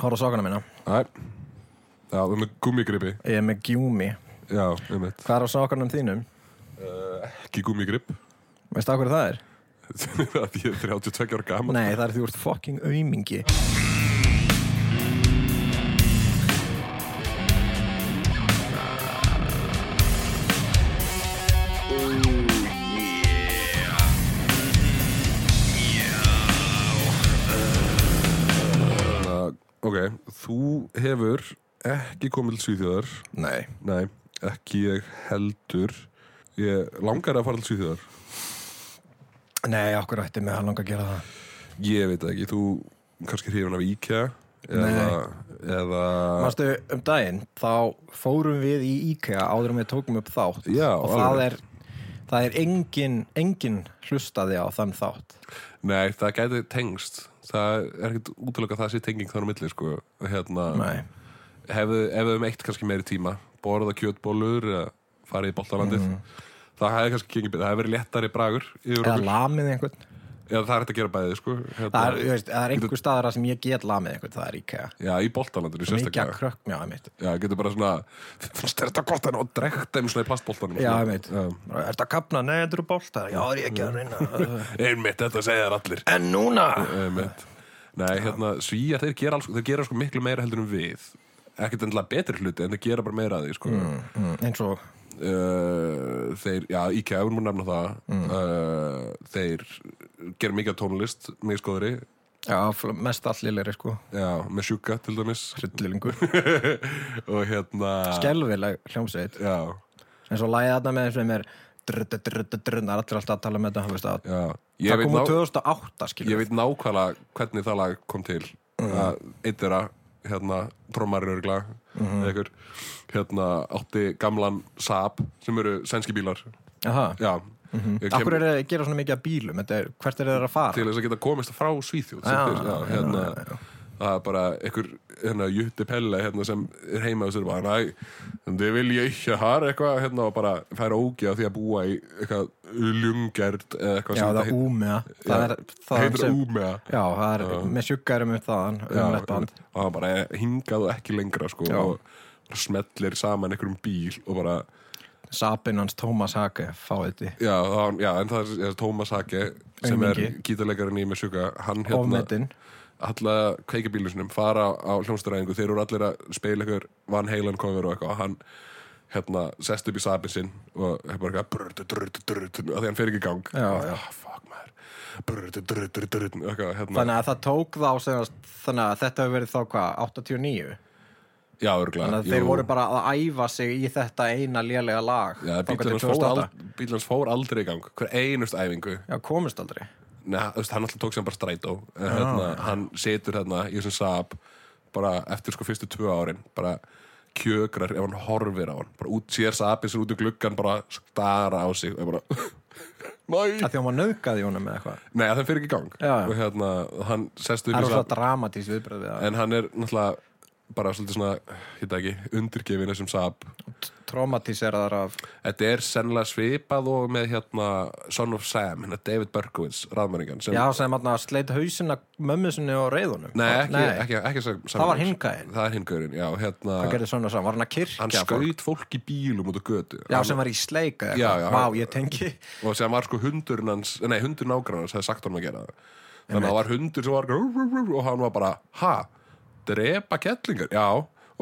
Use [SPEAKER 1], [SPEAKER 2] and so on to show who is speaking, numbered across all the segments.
[SPEAKER 1] Hóra sokana mína
[SPEAKER 2] Nei. Já, þú er með gúmigripi.
[SPEAKER 1] Ég er með gjúmi
[SPEAKER 2] Já, ég veit.
[SPEAKER 1] Hvað er á sokanum þínum?
[SPEAKER 2] Ekki gúmigrip.
[SPEAKER 1] Veist það hverju það er?
[SPEAKER 2] Því að ég er 32 ára gaman.
[SPEAKER 1] Nei, það er því þú ert fucking aumingi
[SPEAKER 2] Nei. Ok, þú hefur ekki komið til Svíþjóðar.
[SPEAKER 1] Nei
[SPEAKER 2] Nei, ekki ég heldur. Ég langar að fara til Svíþjóðar.
[SPEAKER 1] Nei, okkur ætti með að langa að gera það
[SPEAKER 2] Ég veit það ekki, þú kannski hrifin af IKEA. Eða, eða...
[SPEAKER 1] Manstu, um daginn, þá fórum við í IKEA áður en við tókum upp þátt
[SPEAKER 2] Já,
[SPEAKER 1] og það
[SPEAKER 2] alveg.
[SPEAKER 1] er, það er engin, engin hlustaði á þann þátt
[SPEAKER 2] Nei, það gæti tengst Það er ekkert útlöka það sé tenging þannig á milli sko. hérna,
[SPEAKER 1] Nei,
[SPEAKER 2] hefðu, ef við um eitt kannski meiri tíma borða kjötbólur eða farið í boltalandið
[SPEAKER 1] Mm.
[SPEAKER 2] það hefði kannski gengið betur, það hefði verið léttari bragur yfir
[SPEAKER 1] eða
[SPEAKER 2] okkur,
[SPEAKER 1] lamið einhvern
[SPEAKER 2] eða það er hægt að gera bæðið sko. hérna,
[SPEAKER 1] Það er, þú veist, það er einhver staðar þar sem ég get lamið einhvern, það er IKEA
[SPEAKER 2] Já, í boltalandinu
[SPEAKER 1] Mikið að
[SPEAKER 2] sérstaklega
[SPEAKER 1] krökk mjá, einmitt
[SPEAKER 2] Já, getur bara svona, finnst þér þetta gott en og drekta um svona í plastboltanum
[SPEAKER 1] Já,
[SPEAKER 2] svona.
[SPEAKER 1] einmitt
[SPEAKER 2] Já.
[SPEAKER 1] Er þetta kapna? Nei, þetta eru bóltar Já, er ég ekki að reyna
[SPEAKER 2] Einmitt, þetta segja þér allir
[SPEAKER 1] En núna
[SPEAKER 2] Einmitt. Nei, hérna, svíjar, þeir gera, alls, þeir gera sko miklu meira heldur en við ekkert endilega betri hluti en þeir gera bara meira að því sko.
[SPEAKER 1] Mm, Eins og
[SPEAKER 2] uh, þeir, já, IKEA við múið nefna það
[SPEAKER 1] Mm.
[SPEAKER 2] uh, þeir gera mikið af tónlist mikið skoðri,
[SPEAKER 1] Já, fl- mest allilegri sko
[SPEAKER 2] já, með sjúka til dæmis
[SPEAKER 1] Hryllilingur
[SPEAKER 2] og hérna
[SPEAKER 1] Skelvileg hljómsveit
[SPEAKER 2] já,
[SPEAKER 1] En svo lagið þarna með sem er drr, drr, drr, drr, drr, Það er allir alltaf að tala með þetta þú veist að-
[SPEAKER 2] já. Ég,
[SPEAKER 1] Það
[SPEAKER 2] veit
[SPEAKER 1] kom úr
[SPEAKER 2] ná,
[SPEAKER 1] 2008 skilur
[SPEAKER 2] ég veit nákvæmlega hvernig það lag kom til
[SPEAKER 1] Mm.
[SPEAKER 2] að eitt þeirra hérna, trommari örgla
[SPEAKER 1] Mhm.
[SPEAKER 2] eða ykkur, hérna, átti gamlan Saab sem eru sænski bílar
[SPEAKER 1] Aha
[SPEAKER 2] já, ég kem-
[SPEAKER 1] Akkur Mhm. er það að gera svona mikið af bílum Þetta er, Hvert er það að
[SPEAKER 2] til
[SPEAKER 1] fara?
[SPEAKER 2] þess að geta komist frá Svíþjóð
[SPEAKER 1] Já,
[SPEAKER 2] sem til, já,
[SPEAKER 1] já,
[SPEAKER 2] hérna, það er bara einhver hérna, jutti pelle hérna, sem er heima og sér bara, næ, þið vil ég ekki hara eitthvað hérna, og bara færa ógja því að búa í eitthvað ljungjert eða eitthvað
[SPEAKER 1] Já,
[SPEAKER 2] sem
[SPEAKER 1] það
[SPEAKER 2] þetta
[SPEAKER 1] er úmiða Það er það
[SPEAKER 2] heitir
[SPEAKER 1] sem
[SPEAKER 2] úmega
[SPEAKER 1] Já, það er með sjuggarum um þaðan
[SPEAKER 2] Já,
[SPEAKER 1] um lettband
[SPEAKER 2] og það bara eh, hingað og ekki lengra sko,
[SPEAKER 1] Já.
[SPEAKER 2] og bara smellir saman einhverjum bíl og bara,
[SPEAKER 1] Sabin hans Tómas Hake fáið því
[SPEAKER 2] já, það, já en það er, er Tómas Hake sem er
[SPEAKER 1] Aumingi.
[SPEAKER 2] gítarleikarinn í með sjúka hann hérna,
[SPEAKER 1] Ofmetinn
[SPEAKER 2] alla kveikabílum sinum fara á hljómsdreifingu, þeir eru allir að spila ykkur Van Halen cover og eitthvað og hann hérna, sest upp í sabin sinn og hefur bara eitthvað brrrtu, drrrtu, drrrtu, að því hann fer ekki í gang
[SPEAKER 1] Já,
[SPEAKER 2] Og,
[SPEAKER 1] já.
[SPEAKER 2] "Ah, fuck maður brrrtu, drrrtu, drrrtu, og eitthvað, hérna,
[SPEAKER 1] Þannig að það tók þá sem, Þannig að þetta hefur verið þá hvað 89
[SPEAKER 2] já, örgulega
[SPEAKER 1] Þannig að þeir voru bara að æfa sig í þetta eina lélega lag
[SPEAKER 2] já,
[SPEAKER 1] þangað til
[SPEAKER 2] bíl hans, fór
[SPEAKER 1] 2008.
[SPEAKER 2] al, bíl hans fór aldrei í gang hver einust æfingu
[SPEAKER 1] Já, komist aldrei
[SPEAKER 2] Nei, þú veist, hann alltaf tók sem bara strætó
[SPEAKER 1] Ah,
[SPEAKER 2] en hérna, hann setur hérna í þessum sab bara eftir sko fyrstu tvö árin bara kjögrar ef hann horfir á hann bara út sér sabin sem út í gluggan bara stara á sig og er bara Nei,
[SPEAKER 1] að því að hún var nöðgað í honum með eitthvað
[SPEAKER 2] Nei það fyrir ekki í gang
[SPEAKER 1] Já, já.
[SPEAKER 2] og hérna, hann sest upp
[SPEAKER 1] Það
[SPEAKER 2] í
[SPEAKER 1] er
[SPEAKER 2] sab
[SPEAKER 1] svona dramatísk viðbröð við það
[SPEAKER 2] en hann er náttúrulega bara svolítið svona, hitta ekki, undirgefin þessum sab
[SPEAKER 1] Traumatíseraðar af
[SPEAKER 2] Þetta er sennilega svipað og með hérna Son of Sam, hérna David Berkowitz raðmæringan sem
[SPEAKER 1] Já, sem að sleit hausina mömmu sinni og reyðunum
[SPEAKER 2] Nei, ekki, ekki, ekki, ekki
[SPEAKER 1] Það var hinn gæinn.
[SPEAKER 2] Það er hingæðin, já, hérna
[SPEAKER 1] Það gerði svona saman, var hann að kirkja
[SPEAKER 2] hann
[SPEAKER 1] fólk?
[SPEAKER 2] skaut fólk í bílum út á götu
[SPEAKER 1] Já,
[SPEAKER 2] Hann-
[SPEAKER 1] sem var í sleika
[SPEAKER 2] Já,
[SPEAKER 1] eitthvað.
[SPEAKER 2] já.
[SPEAKER 1] Vá, ég tengi
[SPEAKER 2] og sem var sko hundurinn hans nei, hundur nágrann hans hefði sagt honum að gera það þannig að það var hundur sem var rú, rú, rú, og hann var bara, ha, drepa kettlingar já,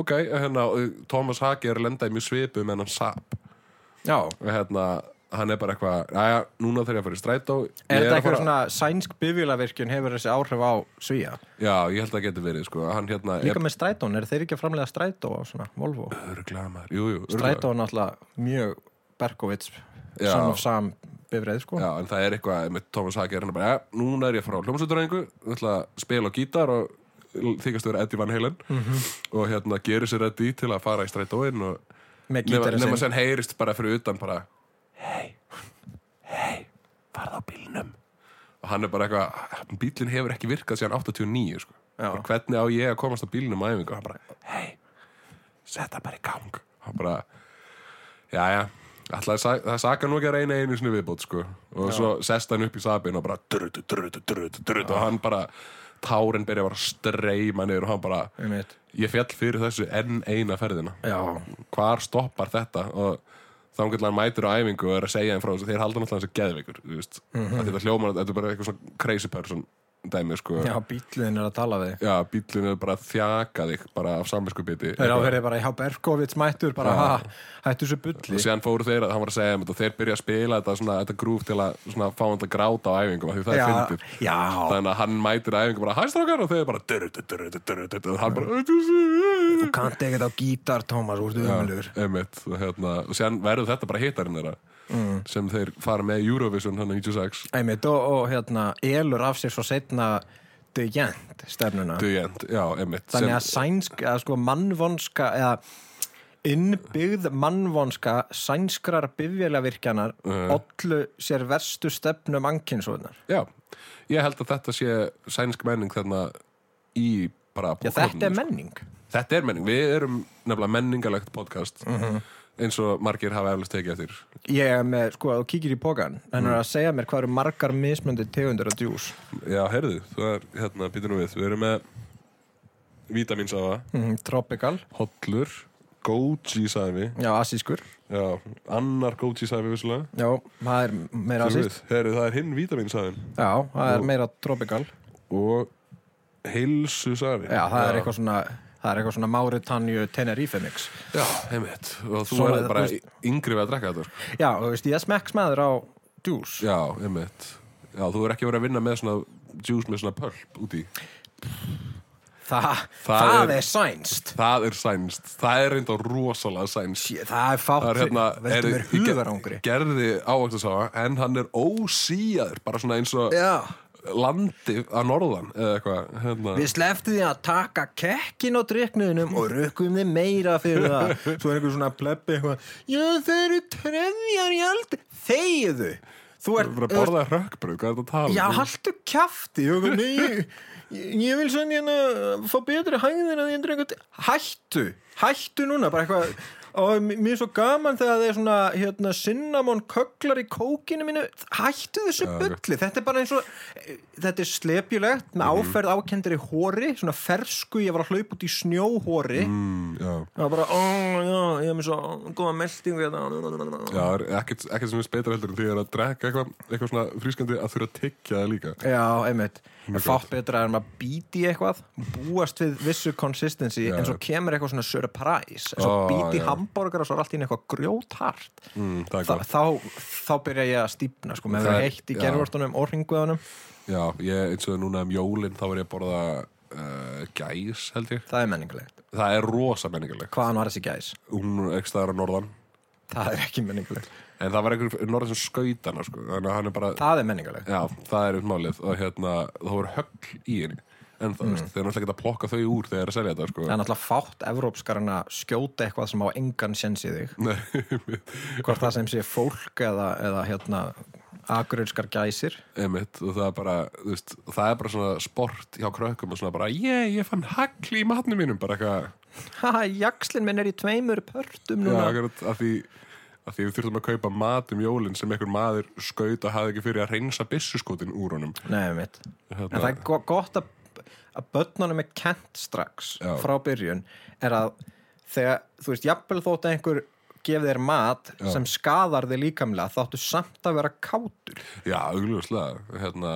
[SPEAKER 2] ok, hérna og Thomas Hagi er að lenda í mjög svipu með hann sap
[SPEAKER 1] Já,
[SPEAKER 2] og hérna, hann er bara eitthvað já, núna þarf ég að fara í strætó Ég
[SPEAKER 1] er þetta
[SPEAKER 2] að
[SPEAKER 1] eitthvað
[SPEAKER 2] fara-
[SPEAKER 1] svona sænsk bifjölavirkjun hefur þessi áhrif á svíja?
[SPEAKER 2] já, ég held að það geti verið, sko hann hérna,
[SPEAKER 1] Líka með strætón, er þeir ekki að framlega strætó á svona Volvo?
[SPEAKER 2] er öruglega maður, jú, jú, örugglega.
[SPEAKER 1] Strætó er náttúrulega mjög Berkovits
[SPEAKER 2] Já.
[SPEAKER 1] Son of Sam bifreið, sko
[SPEAKER 2] Já, en það er eitthvað með Thomas Hagi er hann bara, ja, núna er ég frá hljómsveiturrengu ég ætla að spila á gítar og þykast að vera Eddie Van Halen og hérna gerir sér Eddie til að fara í strætóin og
[SPEAKER 1] Með
[SPEAKER 2] nema
[SPEAKER 1] gítarinn
[SPEAKER 2] nema
[SPEAKER 1] sinn
[SPEAKER 2] sem heyrist bara fyrir utan bara hei, hei, farð á bílnum og hann er bara eitthvað bílinn hefur ekki virkað síðan 89 sko.
[SPEAKER 1] Já.
[SPEAKER 2] Bara, hvernig á ég að komast á bílnum á æfingu og hann bara, hei, setta bara í gang og hann bara Jæja, ætlaði, sa- það sakar nú ekki að reyna einu sinni viðbót sko. og svo sest hann upp í sabin og bara drut, drut, drut, drut, og hann bara tárin byrja bara að streyma niður og hann bara,
[SPEAKER 1] Einmitt.
[SPEAKER 2] ég fjall fyrir þessu enn eina ferðina
[SPEAKER 1] Já.
[SPEAKER 2] hvar stoppar þetta og þá einhvern veginn mætur á æfingu og er að segja þeim frá þessu þeir halda náttúrulega þessu geðveikur þú veist.
[SPEAKER 1] Mhm.
[SPEAKER 2] Af því þetta hljómar, þetta er bara eitthvað svona crazy person dæmi sko
[SPEAKER 1] Já, bíllinn er að tala við þig.
[SPEAKER 2] Já, bíllinn er bara að þjaka þig bara af samvinskubiti
[SPEAKER 1] Þeir áverði bara, já, Berkovits mættur, bara, ha, hættu þessu
[SPEAKER 2] og
[SPEAKER 1] bulli.
[SPEAKER 2] síðan fóru þeir að hann var að segja þeim þetta og þeir byrja að spila þetta, svona, þetta grúf til að svona, fá hann til að gráta á æfingum af því það
[SPEAKER 1] Já,
[SPEAKER 2] er fyndir
[SPEAKER 1] já.
[SPEAKER 2] þannig að hann mætir á æfingum bara hæstrákar og þeir bara durru, durru, durru, durru, og hann bara
[SPEAKER 1] Þú kannt ekkert á gítar, Tómas, úr umlur.
[SPEAKER 2] Einmitt, og, hérna, og síðan verður þetta bara hitarinn þeirra
[SPEAKER 1] Mm.
[SPEAKER 2] sem þeir fara með í Eurovision hann 96
[SPEAKER 1] Einmitt, og, og hérna, elur af sér svo setna dögjent stefnuna.
[SPEAKER 2] Dugend, já, einmitt
[SPEAKER 1] Þannig
[SPEAKER 2] sem-
[SPEAKER 1] að sænsk, eða sko mannvonska, eða innbyggð mannvonska sænskrar bifjalavirkjanar ollu sér verstu stefnum ankinsóðnar.
[SPEAKER 2] Já, ég held að þetta sé sænsk menning þarna í bara
[SPEAKER 1] Já, þetta er
[SPEAKER 2] menning
[SPEAKER 1] menning.
[SPEAKER 2] Þetta er menning, við erum nefnilega menningalegt podcast
[SPEAKER 1] Mhm.
[SPEAKER 2] eins og margir hafa eflust tekið eftir
[SPEAKER 1] Ég er með, sko, þú kíkir í pókan,
[SPEAKER 2] Mm.
[SPEAKER 1] hann er að segja mér hvað eru margar mismöndi tegundur af djús.
[SPEAKER 2] Já, heyrðu, þú er, hérna, býtur nú við Við erum með vítaminsafa,
[SPEAKER 1] Mm, tropical,
[SPEAKER 2] hollur goji sæfi
[SPEAKER 1] já, asískur,
[SPEAKER 2] Já, annar goji sæfi vissulega
[SPEAKER 1] já, það er meira
[SPEAKER 2] Þú
[SPEAKER 1] asísk.
[SPEAKER 2] við, Heyrðu, það er hinn vítaminsaðin
[SPEAKER 1] Já, það er meira tropical.
[SPEAKER 2] og heilsu sæfi
[SPEAKER 1] Já, það er eitthvað svona, það er eitthvað svona Mauritanju Tenerife mix.
[SPEAKER 2] Já, heimitt, og þú
[SPEAKER 1] Svo
[SPEAKER 2] er
[SPEAKER 1] er-
[SPEAKER 2] bara
[SPEAKER 1] þú
[SPEAKER 2] yngri við að drekka þetta sko.
[SPEAKER 1] Já, þú veist, ég er smekks maður á djús.
[SPEAKER 2] Já, einmitt Já, þú er ekki verið að vinna með svona juice með svona pulp úti
[SPEAKER 1] Þa, það,
[SPEAKER 2] Það er-
[SPEAKER 1] er, er sænst.
[SPEAKER 2] Það er sænst, það er reynda rosalega sænst
[SPEAKER 1] Shit, Það er fátt
[SPEAKER 2] Það er hérna
[SPEAKER 1] Veldur mér
[SPEAKER 2] ég ger-
[SPEAKER 1] hugarangri
[SPEAKER 2] Gerði ávægtasáa, en hann er ósíjaður Bara svona eins og
[SPEAKER 1] Já.
[SPEAKER 2] landi að norðan Eða eitthvað, hérna
[SPEAKER 1] Við sleftum því að taka kekkin á dryknuðinum og rökkum þið meira fyrir það Svo er einhver svona plebbi eitthvað Já þau eru trefjar í ald Þegiðu Þú
[SPEAKER 2] Þú er að
[SPEAKER 1] ert er,
[SPEAKER 2] borða rökkbrug, hvað er þetta að tala um?
[SPEAKER 1] Já haltu kjafti Ég, nei, ég, ég vil sann hérna fá betri hægðin að ég endur einhvern Hættu Hættu núna bara eitthvað Og m- mér er svo gaman þegar það er svona hérna, cinnamon köklar í kókinu mínu Hættu þessu
[SPEAKER 2] Já, ok.
[SPEAKER 1] bulli Þetta er bara eins og eh, Þetta er slepjulegt með áferð ákendir í hóri Svona fersku, ég var að hlaupa út í snjóhóri mm.
[SPEAKER 2] Mm, já.
[SPEAKER 1] Það var bara, ó, já, ég hef mér svo góða meldingu þetta
[SPEAKER 2] Já, það er ekkert, ekkert sem er betra heldur en því er að drekka eitthvað, eitthvað svona frískandi að þurfa að tyggja það líka
[SPEAKER 1] Já, einmitt En fátt betra en maður býti í eitthvað Búast við vissu consistency En svo kemur eitthvað svona surprise En svo
[SPEAKER 2] Ó,
[SPEAKER 1] býti í
[SPEAKER 2] já.
[SPEAKER 1] hambúrgar og svo er allt í einu eitthvað grjóthart
[SPEAKER 2] mm, Það er
[SPEAKER 1] Þa,
[SPEAKER 2] gott
[SPEAKER 1] þá, þá byrja ég að stípna sko, Með
[SPEAKER 2] Það
[SPEAKER 1] verið
[SPEAKER 2] er-
[SPEAKER 1] heitt í
[SPEAKER 2] já.
[SPEAKER 1] gervortunum og ringuðunum
[SPEAKER 2] Já, ég, eins og núna um jólinn þá var ég að borða uh, gæs held ég
[SPEAKER 1] Það er menninglegt
[SPEAKER 2] Það er rosa menningarleg
[SPEAKER 1] Hvaðan var þessi gæs?
[SPEAKER 2] Hún er ekki staðar á norðan
[SPEAKER 1] Það er ekki menninglegt
[SPEAKER 2] En það var einhver norðan sem skautana sko. Þannig að hann er bara
[SPEAKER 1] Það er menninglegt
[SPEAKER 2] Já, það er uppmálið Og hérna, þá voru högl í henni En það, mm. þeir náttúrulega geta að plokka þau úr þegar þeir eru að selja þetta sko.
[SPEAKER 1] Það er náttúrulega fátt evrópskar en að skjóta eitthvað sem á engan sens í þig
[SPEAKER 2] Nei,
[SPEAKER 1] Hvort það sem sé fólk eða, eða hérna, agururskar gæsir
[SPEAKER 2] einmitt, og það er bara þú veist, það er bara svona sport hjá krökkum og svona bara, ég, ég fann hagl í matnum mínum bara eitthvað,
[SPEAKER 1] Haha, jakslinn minn er í tveimur pörtum
[SPEAKER 2] já,
[SPEAKER 1] núna
[SPEAKER 2] akkurat að því að því við þurftum að kaupa mat um jólinn sem einhver maður skaut og hafði ekki fyrir að reynsa byssuskotin úr honum Hérna,
[SPEAKER 1] Nei, mitt. En það er go- gott að, að börnunum er kent strax
[SPEAKER 2] Já.
[SPEAKER 1] frá byrjun er að þegar, þú veist, jafnvel þótt að einhver gefið þér mat sem skadar þig líkamlega þáttu samt að vera kátur
[SPEAKER 2] Já, augljóslega hérna,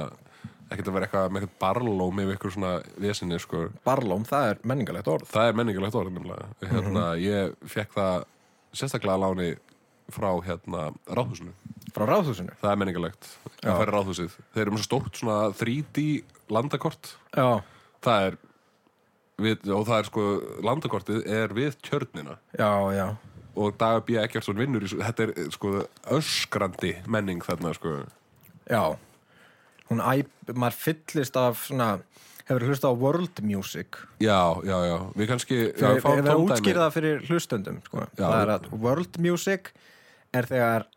[SPEAKER 2] ekkert að vera eitthvað með eitthvað barlóm yfir eitthvað svona vesinni sko.
[SPEAKER 1] Barlóm, það er menningalegt orð
[SPEAKER 2] það er menningalegt orð nefnilega
[SPEAKER 1] Mhm.
[SPEAKER 2] hérna, ég fekk það sérstaklega að láni frá hérna ráðhúsinu,
[SPEAKER 1] frá ráðhúsinu
[SPEAKER 2] það er menningalegt að færa ráðhúsið, þeir eru með svo stórt svona 3D landakort
[SPEAKER 1] Já,
[SPEAKER 2] það er við, og það er sko, landakortið er við tjörnina
[SPEAKER 1] já, já
[SPEAKER 2] og Dagur B. Eggertsson vinnur í, svo- þetta er sko öskrandi menning þarna sko
[SPEAKER 1] Já Hún æ, maður fyllist af svona hefur hlust á world music
[SPEAKER 2] já, já, já, við kannski já,
[SPEAKER 1] Fyrir- Ég verð að
[SPEAKER 2] tóndæmi.
[SPEAKER 1] útskýra það fyrir hlustundum sko.
[SPEAKER 2] Já.
[SPEAKER 1] Það er að world music er þegar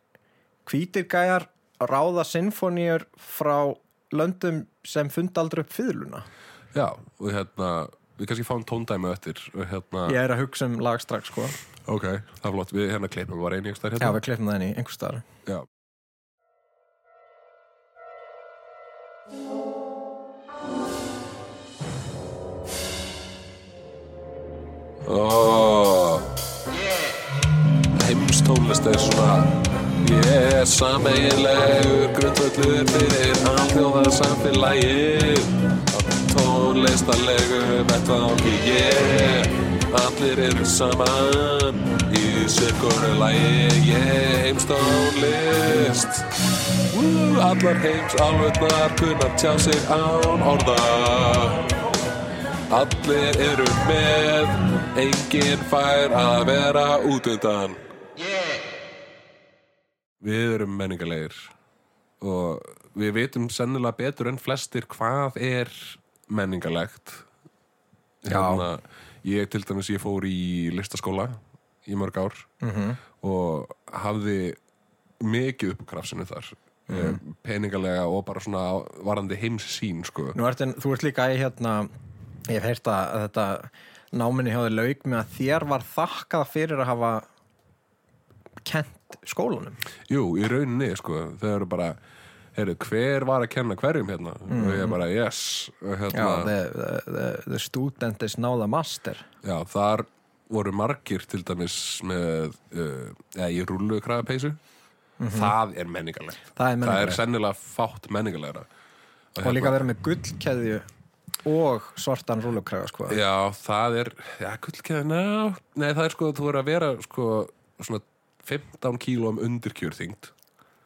[SPEAKER 1] hvítir gæjar ráða sinfoníur frá löndum sem funda aldrei upp fyrluna
[SPEAKER 2] já, og hérna, við kannski fáum tóndæmi á eftir og hérna,
[SPEAKER 1] Ég er að hugsa um lag strax sko.
[SPEAKER 2] ok, það er flott við hérna kleipum var eini einhverstað
[SPEAKER 1] Já,
[SPEAKER 2] hérna
[SPEAKER 1] við klippum það inn í einhvers staðar
[SPEAKER 2] já. oh. Heimstónlist er svona Ég er sameiginlegur grundvöldur fyrir alþjóða samfélagi Tónlistarlegu vettvangi ég Allir eru saman í sirkonu lagi Ég heimstónlist Woo, Allar heims álvetnar kunnar tjá sig án orða Allir eru með, enginn fær að vera út undan. Við erum menningarlegir og við vitum sennilega betur en flestir hvað er menningarlegt. Hérna, ég til dæmis, ég fór í listaskóla í mörg ár
[SPEAKER 1] Mhm.
[SPEAKER 2] -hmm. og hafði mikið upp á krafsinu þar.
[SPEAKER 1] Mhm.
[SPEAKER 2] Mm peningalega og bara svona varandi heimssýn sko.
[SPEAKER 1] Nú ert en, þú ert líka í hérna, ég hef heyrt að að þetta náminni hjáði lauk með að þér var þakkað fyrir að hafa kent skólanum.
[SPEAKER 2] Jú, í rauninni, sko, þau eru bara heyrðu, hver var að kenna hverjum hérna og ég bara, yes og
[SPEAKER 1] Mhm. Já,
[SPEAKER 2] hérna,
[SPEAKER 1] the, the, the, the student is now the master.
[SPEAKER 2] já, þar voru margir til dæmis með, uh, eða ég rúlu krafapeysu, það er menningarlegt
[SPEAKER 1] Það er Mhm. menningarlegt.
[SPEAKER 2] sennilega fátt menningarlegra Hérna.
[SPEAKER 1] Og líka að vera með gullkeðju og svartan rúlukræða, sko.
[SPEAKER 2] já, það er, já, gullkeðina nei, það er sko, þú verður að vera sko, svona 15 kílóum undirkjörþyngd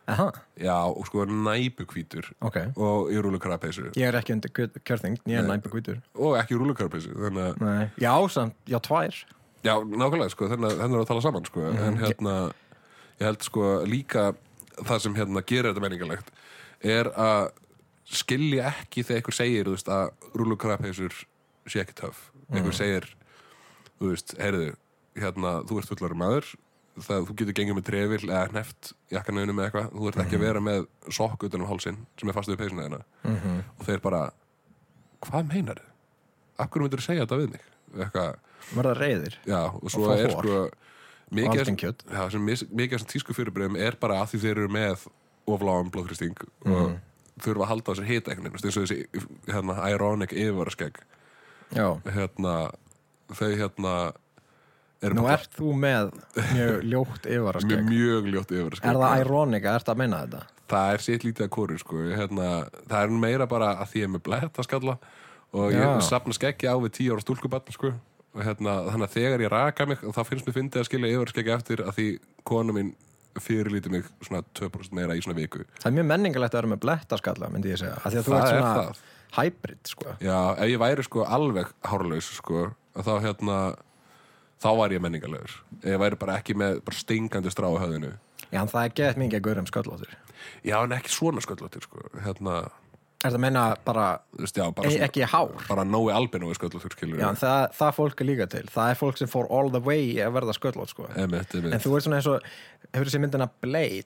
[SPEAKER 1] Aha,
[SPEAKER 2] já, og sko næpukvítur
[SPEAKER 1] ok.
[SPEAKER 2] og í rúlu krafapeysu
[SPEAKER 1] Ég er ekki undir gull- kjörþyngd, ég er næmpi gutur.
[SPEAKER 2] og ekki rúlu krafapeysu þannig að
[SPEAKER 1] Nei. Já, samt, já, tvær.
[SPEAKER 2] Já, nákvæmlega, sko, þannig að hennar að tala saman, sko, en hérna, ég held, sko, líka það sem hérna gerir þetta menningalegt er að skilja ekki þegar einhver segir, þú veist, að rúlukrapheysur sé ekki töff. Einhver segir, þú veist, heyrðu, hérna, þú ert fullari maður, það, þú getur gengið með trefil eða hneft jakkanauðinu með eitthvað, þú ert ekki að vera með sokk utan á hálsin sem er fastuð í peysuna þeirna. Og þeir bara, hvað meinar þið? Af hverju myndir segja þetta við mig? Eitthvað,
[SPEAKER 1] Verða reyðir.
[SPEAKER 2] Já, og svo
[SPEAKER 1] fá
[SPEAKER 2] er
[SPEAKER 1] hor.
[SPEAKER 2] sko
[SPEAKER 1] Og
[SPEAKER 2] mikið af-
[SPEAKER 1] aldingkjöt.
[SPEAKER 2] já, sem mis- mikið af þessum tísku fyrirbyrðum er bara að því þeir eru með ofláðan blóðkristing
[SPEAKER 1] Mhm.
[SPEAKER 2] og þurfa að halda á sér hita einhvern veginn, þú veist, eins og þessi hérna, ironic yfirvaraskegg
[SPEAKER 1] Já.
[SPEAKER 2] hérna, þau hérna eru
[SPEAKER 1] Nú
[SPEAKER 2] bara
[SPEAKER 1] ert þú með mjög ljótt
[SPEAKER 2] með
[SPEAKER 1] yfaraskegg.
[SPEAKER 2] mjög ljótt
[SPEAKER 1] Er
[SPEAKER 2] yfirvaraskegg
[SPEAKER 1] það ironika, ert það að meina þetta?
[SPEAKER 2] það er sitt lítið að kóru sko. hérna, það er meira bara að því ég er með bletta skalla og
[SPEAKER 1] Já.
[SPEAKER 2] ég sapna skeggi á við tíu ára stúlkubatn sko. og hérna, þannig að þegar ég raka mig þá finnst mér fyndið að skilja yfir skeggi eftir að því kona mín fyrirlíti mig svona 2% meira í svona viku
[SPEAKER 1] Það er mjög menningalegt að vera með blettaskalla, myndi ég segja. Af Því að þú
[SPEAKER 2] Það
[SPEAKER 1] ert
[SPEAKER 2] er
[SPEAKER 1] svona
[SPEAKER 2] það.
[SPEAKER 1] hybrid, sko.
[SPEAKER 2] Já, ef ég væri sko alveg hárlaus sko, að þá hérna þá var ég menningarlegur ef ég væri bara ekki með bara stingandi strá á höfðinu
[SPEAKER 1] Já, en það er geðt mikið um að gaurum sköllóttur.
[SPEAKER 2] Já, en ekki svona sköllóttir sko. hérna,
[SPEAKER 1] Er það að meina bara,
[SPEAKER 2] þú veist, já, bara,
[SPEAKER 1] e
[SPEAKER 2] svona,
[SPEAKER 1] ekki hár?
[SPEAKER 2] bara nógu albinu sköllóttir skilur
[SPEAKER 1] Já, en það, það fólk er líka til. Það er fólk sem fór all the way í að verða sköllótt, sko.
[SPEAKER 2] Emitt, emitt.
[SPEAKER 1] En þú ert svona eins og, hefur þessi myndina Blade,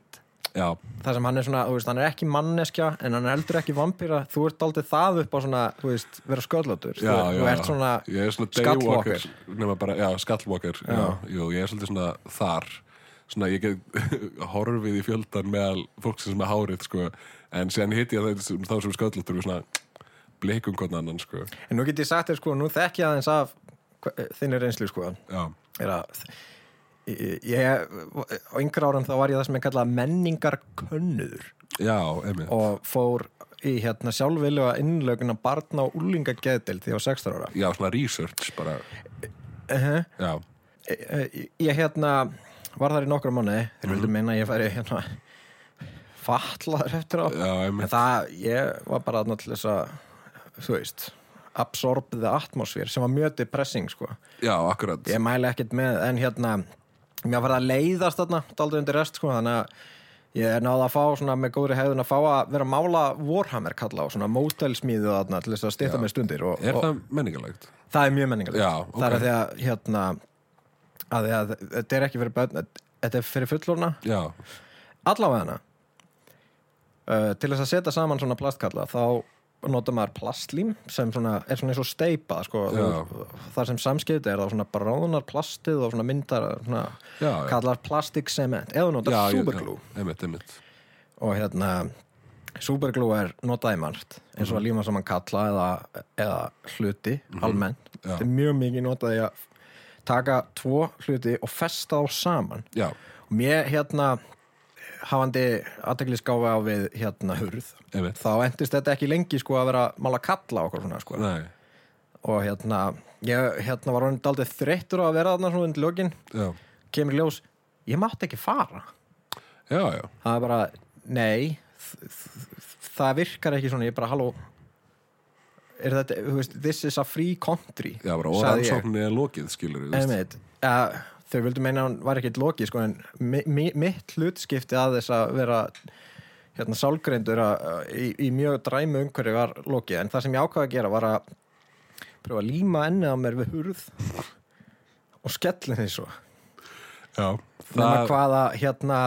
[SPEAKER 2] Já,
[SPEAKER 1] þar sem hann er svona, þú veist, hann er ekki manneskja, en hann er heldur ekki vampýra. Þú ert aldrei það upp á svona, þú veist, vera sköllóttur. sko.
[SPEAKER 2] já, já,
[SPEAKER 1] þú, þú ert svona,
[SPEAKER 2] Ég er svona
[SPEAKER 1] skallwalker.
[SPEAKER 2] daywalker nema bara, Já, skallwalker já. jú, Ég er svolítið svona þar Svona ég get horfið í fjöldan meðal fólk sem er hárið sko. En síðan hitt ég það, þá sem sköllóttur við svona blikum hvernig annan sko.
[SPEAKER 1] En nú get ég sagt þér, sko, nú þekk ég aðeins af hva- þinni reynslu, sko.
[SPEAKER 2] Já,
[SPEAKER 1] er að ég, ég- á yngra árum þá var ég það sem ég kallaði menningarkönnur
[SPEAKER 2] já, emitt
[SPEAKER 1] og fór í hérna sjálfvillega innlöguna barna og úlingageðdil því ég var 16 ára
[SPEAKER 2] Já, svona research bara Já,
[SPEAKER 1] Eh, ég, ég hérna var þar í nokkra mánu þeir
[SPEAKER 2] Mhm.
[SPEAKER 1] vildu meina að ég færi hérna fatlaður eftir á
[SPEAKER 2] já,
[SPEAKER 1] en
[SPEAKER 2] emitt
[SPEAKER 1] það, ég var bara þarna til þess að þú veist absorb the atmosphere sem var mjög depressing sko
[SPEAKER 2] Já, akkurat
[SPEAKER 1] Ég mæla ekkert með, en hérna mér var það að leiðast þarna, daldið undir rest sko, þannig að ég náði að fá svona með góðri hefðun að fá að vera að mála Warhammer kalla á svona mótelsmíðu þarna til þess að stýta með stundir og,
[SPEAKER 2] Er
[SPEAKER 1] og það...
[SPEAKER 2] það menningarlegt?
[SPEAKER 1] er mjög menningalegt
[SPEAKER 2] Já, ok.
[SPEAKER 1] það er að því að hérna að því að þetta er ekki fyrir börn þetta er fyrir fullorna,
[SPEAKER 2] Já,
[SPEAKER 1] allavega hana uh, til þess að setja saman svona plastkalla þá nota maður plastlím sem svona, er svona eins og steipa sko,
[SPEAKER 2] Já.
[SPEAKER 1] þú- þar sem samskipti er þá svona bara ráðunar plastið og svona myndar svona,
[SPEAKER 2] Já, já.
[SPEAKER 1] kallar plastik cement eða þú notar
[SPEAKER 2] já,
[SPEAKER 1] superglú
[SPEAKER 2] Emitt, emitt
[SPEAKER 1] og hérna superglú er notaði margt eins og að líma saman kalla eða, eða hluti almennt, þetta er mjög mikið notaði að taka tvo hluti og festa þá saman
[SPEAKER 2] já,
[SPEAKER 1] og mér hérna hafandi aðteglisgáfa á við hérna hurð
[SPEAKER 2] einmitt
[SPEAKER 1] þá endist þetta ekki lengi sko að vera að mála kalla okkur svona sko
[SPEAKER 2] Nei,
[SPEAKER 1] og hérna, ég hérna var hann daldið þreyttur á að vera þarna svona undir lokin
[SPEAKER 2] já,
[SPEAKER 1] kemur í ljós, ég mátti ekki fara
[SPEAKER 2] já, já
[SPEAKER 1] það er bara, nei þ- þ- það virkar ekki svona, ég bara halló er þetta, þú veist, this is a free country
[SPEAKER 2] Já, bara
[SPEAKER 1] sagði ég.
[SPEAKER 2] orðansóknir er lokið, skilur við
[SPEAKER 1] Einmitt, uh, þau vildu meina að hann var ekkert lokið sko, en mi mi mitt hlutskipti að þess að vera hérna, sálgreindur að, að, í, í mjög dræmu umhverju var lokið en það sem ég ákvaði að gera var að pröfa að líma ennið á mér við hurð og skellin því svo
[SPEAKER 2] Já,
[SPEAKER 1] nema
[SPEAKER 2] það,
[SPEAKER 1] hvaða hérna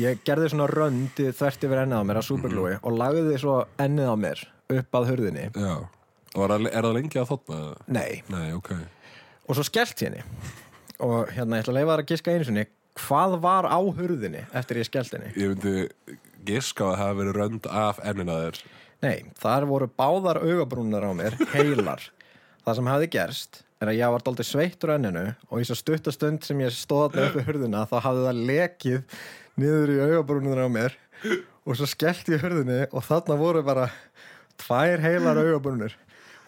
[SPEAKER 1] ég gerði svona röndi þvert yfir ennið á mér að superglúi og lagði svo ennið á mér upp að hurðinni
[SPEAKER 2] já Var, það- Er það lengi að þóttna?
[SPEAKER 1] nei,
[SPEAKER 2] Nei, ok
[SPEAKER 1] og svo skellt henni og hérna, ég ætla að leifa þar að giska einu sinni hvað var á hurðinni eftir ég skellt henni
[SPEAKER 2] Ég myndi giska á að það hafa verið rönd af ennina þér
[SPEAKER 1] nei, þar voru báðar augabrúnar á mér heilar, það sem hafði gerst er að ég var daldið sveittur á enninu og í svo stuttastund sem ég stóða upp í hurðina þá hafði það lekið niður í augabrúnar á mér og svo skellt ég hurðinni og þarna voru bara tvær heilar augabrúnur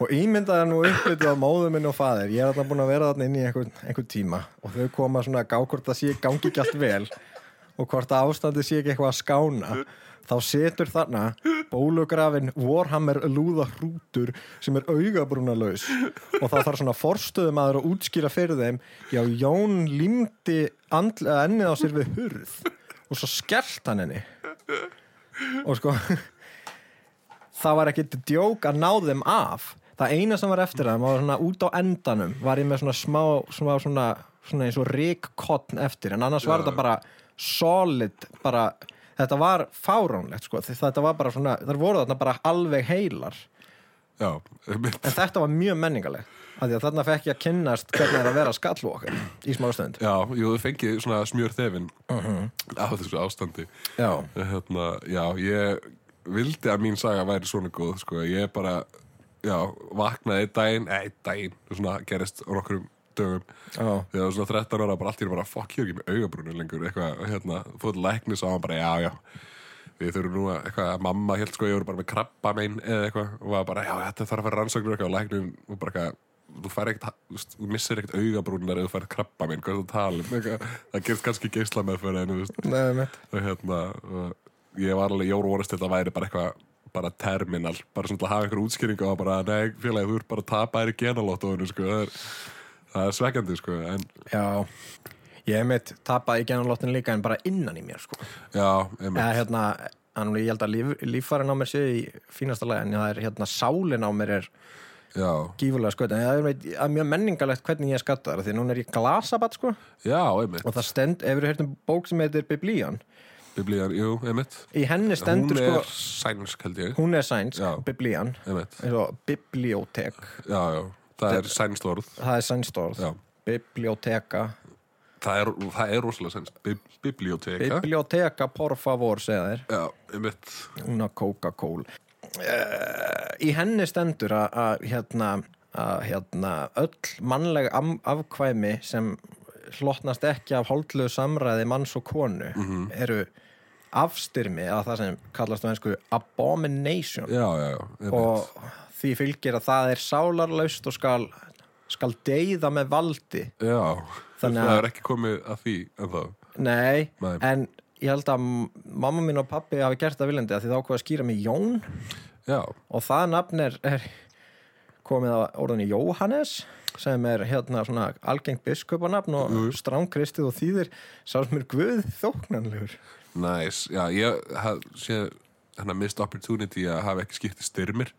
[SPEAKER 1] og ímyndaði nú upplitið á móðu minn og faðir ég er þarna búin að vera þarna inn í einhvern, einhvern tíma og þau koma svona að gá hvort það sé gangi ekki allt vel og hvort að ástandi sé ekki eitthvað að skána þá setur þarna bólugrafin Warhammer lúða hrútur sem er augabrúnalaus og það þarf svona forstöðum aður að útskýra fyrir þeim já, Jón límdi andl- ennið á sér við hurð og svo skellt hann henni og sko það var ekkit djók að ná þeim af það eina sem var eftir það var svona út á endanum var ég með svona smá svona, svona, svona eins og ríkkottn eftir en annars var þetta bara solid bara, þetta var fáránlegt sko, því þetta var bara svona þar voru þarna bara alveg heilar
[SPEAKER 2] Já, einmitt
[SPEAKER 1] en þetta var mjög menningalegt af því að þarna fekk ég að kynnast hvernig er að vera skallu okkar í smá stund
[SPEAKER 2] Já, jú, þau fengið svona smjör þefin af þessu ástandi
[SPEAKER 1] já,
[SPEAKER 2] hérna, Já, ég vildi að mín saga væri svona góð sko. ég bara, já, vaknaði einn daginn, ei, daginn, svona gerist á nokkrum dögum
[SPEAKER 1] já,
[SPEAKER 2] þegar það var svona 13 ára, bara allt í einu bara fokk ég er ekki með augabrúnu lengur, eitthvað, hérna fóðu læknis á hann bara, já, já við þurfum nú að, eitthvað, mamma held sko ég voru bara með krabba mein eða eitthvað og var bara, já, þetta þarf að fara rannsóknir eitthvað og læknum og bara eitthvað, þú fær ekkert þú veist, þú missir ekkert augabrúnar eða þú fær krabba mein hvað er það að tala um, eitthvað, það gerist kannski geisla með fyrir henni, þú veist
[SPEAKER 1] nefnum
[SPEAKER 2] og hérna, og ég var alveg, ég voru vorist þetta væri bara eitthvað bara terminal, bara svona til að hafa einhver útskýring og bara, nei, félagi, þú ert bara að tapa þér í genalóttóinu, sko, það er, það er svekkjandi, sko, en
[SPEAKER 1] já ég mitt tapaði í genanlóttin líka en bara innan í mér sko
[SPEAKER 2] Já, einmitt,
[SPEAKER 1] eða hérna, hann, ég held að líf, líffarin á mér séu í fínasta lagi en það er hérna, sálin á mér er
[SPEAKER 2] já,
[SPEAKER 1] gífurlega sköt en það er, meitt- það er mjög menningalegt hvernig ég er skattar því að núna er ég glasabat sko og
[SPEAKER 2] já, einmitt
[SPEAKER 1] það stend, ef við hérna bók sem heitir Biblían,
[SPEAKER 2] Biblían, jú, einmitt
[SPEAKER 1] í henni
[SPEAKER 2] Hún
[SPEAKER 1] stendur
[SPEAKER 2] er
[SPEAKER 1] sko,
[SPEAKER 2] sænsk, held ég
[SPEAKER 1] hún er sænsk
[SPEAKER 2] Já.
[SPEAKER 1] Biblían,
[SPEAKER 2] Einmitt,
[SPEAKER 1] eins og bibliotek
[SPEAKER 2] já, já, það er sænst orð
[SPEAKER 1] það er sænskt orð,
[SPEAKER 2] Já.
[SPEAKER 1] biblioteka
[SPEAKER 2] Það er, það er rosalega sænst Bib Biblioteka
[SPEAKER 1] biblioteka, por favor, segja þér
[SPEAKER 2] Já, einmitt
[SPEAKER 1] Una Coca-Cola uh, Í henni stendur að- að hérna, að, hérna öll mannleg am- afkvæmi sem hlotnast ekki af holdlu samræði manns og konu
[SPEAKER 2] Mhm.
[SPEAKER 1] eru afstyrmi að það sem kallast á einsku abomination
[SPEAKER 2] Já, já, já, einmitt
[SPEAKER 1] og því fylgir að það er sálarlaust og skal, skal deyða með valdi
[SPEAKER 2] Já,
[SPEAKER 1] Þannig að-
[SPEAKER 2] það er ekki komið að því en þá
[SPEAKER 1] Nei,
[SPEAKER 2] Nei.
[SPEAKER 1] en ég held að m- mamma mín og pappi hafi gert það viljandi að því þá ákvað að skýra mig Jón
[SPEAKER 2] Já,
[SPEAKER 1] og það nafn er, er komið á orðinni Jóhannes sem er hérna svona algengt biskupanafn og mm. stránkristið og þýðir sá sem er guð þóknanlegur
[SPEAKER 2] næs, já, ég haf, sé hérna mist opportunity að hafa ekki skipti styrmir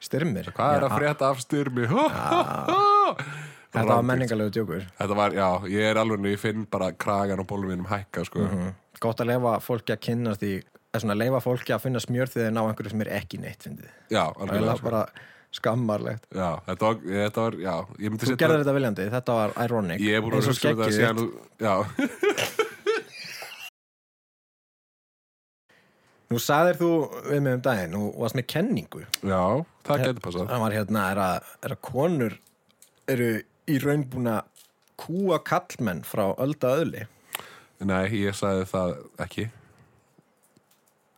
[SPEAKER 1] styrmir
[SPEAKER 2] Hvað er
[SPEAKER 1] Já,
[SPEAKER 2] að frétta af styrmi?
[SPEAKER 1] þetta var menningalegu djókur
[SPEAKER 2] Þetta var, já, ég er alveg, ég finn bara kragan og bólum mínum hækka, sko
[SPEAKER 1] Mhm. gott að leifa fólki að kynnast í að svona leifa fólki að finna smjörþiðin á einhverju sem er ekki neitt fyndið
[SPEAKER 2] Já,
[SPEAKER 1] það er
[SPEAKER 2] algjörlega,
[SPEAKER 1] eiginlega
[SPEAKER 2] sko.
[SPEAKER 1] bara skammarlegt
[SPEAKER 2] Já, þetta var, þetta var, já, ég myndi
[SPEAKER 1] þú
[SPEAKER 2] setja
[SPEAKER 1] gerðir þetta viljandi, þetta var ironic
[SPEAKER 2] Ég er búin að
[SPEAKER 1] eins og
[SPEAKER 2] hugsa um þetta
[SPEAKER 1] skeggið
[SPEAKER 2] síðan þú- Já,
[SPEAKER 1] þitt. nú sagðir þú við mig um daginn og varst með kenningu
[SPEAKER 2] já, það getur passað
[SPEAKER 1] það var hérna er að, er að konur eru í raun búin að kúa kallmenn frá ölda öðli
[SPEAKER 2] Nei, ég sagði það ekki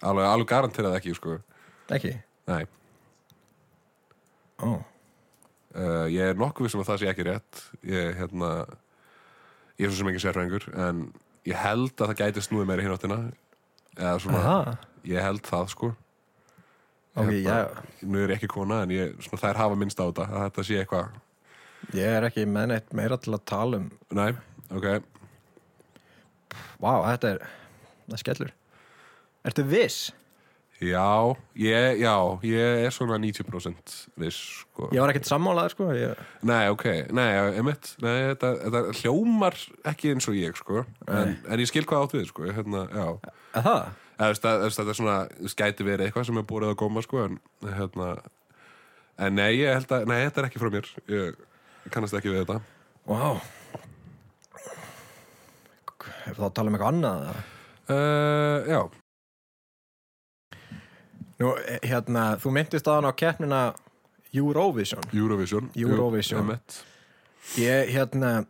[SPEAKER 2] Alveg, alveg garanterað ekki, sko
[SPEAKER 1] ekki
[SPEAKER 2] Nei,
[SPEAKER 1] Ó.
[SPEAKER 2] uh, ég er nokkuð vissum að það sé ekki rétt Ég, hérna Ég er svo sem ekki sérfengur En ég held að það gæti snúið meira hináttina Eða svona,
[SPEAKER 1] Aha.
[SPEAKER 2] ég held það, sko
[SPEAKER 1] ok, já,
[SPEAKER 2] Hérna, Nú er ég ekki kona, en ég, svona, þær hafa minnst á þetta Að þetta sé eitthvað
[SPEAKER 1] ég er ekki með neitt meira til að tala um
[SPEAKER 2] Nei, ok
[SPEAKER 1] vá, þetta er, það skellur ertu viss?
[SPEAKER 2] Já, ég, já, ég er svona 90% viss, sko
[SPEAKER 1] ég var ekkert sammálaður sko ég,
[SPEAKER 2] Nei, ok, nei, emitt Nei, þetta, þetta hljómar ekki eins og ég, sko En, en ég skil hvað átt við, sko Hérna, já
[SPEAKER 1] að það?
[SPEAKER 2] Eða, veist, að- veist, Þetta er svona, þú gæti verið eitthvað sem er búið að góma, sko En, hérna En nei, ég held að, nei, þetta er ekki frá mér Ég kannast ekki við þetta
[SPEAKER 1] vá ef þá tala um eitthvað annað eða?
[SPEAKER 2] uh, Já,
[SPEAKER 1] Nú, eh, hérna, þú myndist aðan á keppnina Eurovision
[SPEAKER 2] Eurovision
[SPEAKER 1] Eurovision.
[SPEAKER 2] Emitt
[SPEAKER 1] Ég, hérna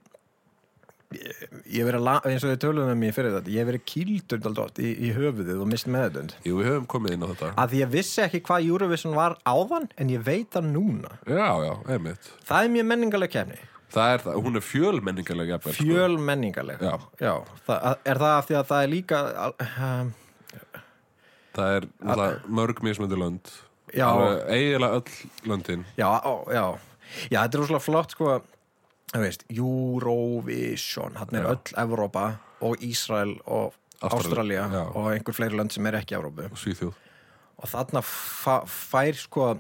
[SPEAKER 1] ég, ég verið, la- eins og þið töluðum um mig fyrir þetta, ég hef verið kýldur dálítið oft í, í höfuðið og mist meðutund
[SPEAKER 2] Jú, við höfum komið inn á þetta
[SPEAKER 1] að því ég vissi ekki hvað Eurovision var áðan en ég veit það núna
[SPEAKER 2] Já, já, emitt
[SPEAKER 1] það er mjög menningaleg kefni,
[SPEAKER 2] Það er það, hún er fjölmenningalega jafnvel, sko.
[SPEAKER 1] fjöl menningaleg
[SPEAKER 2] Já.
[SPEAKER 1] það, er það af því að það er líka um,
[SPEAKER 2] Það er náttúrulega mörg mismöndu lönd
[SPEAKER 1] Ah. Já.
[SPEAKER 2] Alveg Eiginlega öll löndin
[SPEAKER 1] já, ó, já já, þetta er rosalega flott sko þú veist, Eurovision hann er
[SPEAKER 2] Já.
[SPEAKER 1] öll Evrópa og Ísrael og Ástralía
[SPEAKER 2] Ástralía, já.
[SPEAKER 1] og einhver fleiri lönd sem er ekki Evrópu
[SPEAKER 2] og Svíþjóð
[SPEAKER 1] og þarna fa- fær sko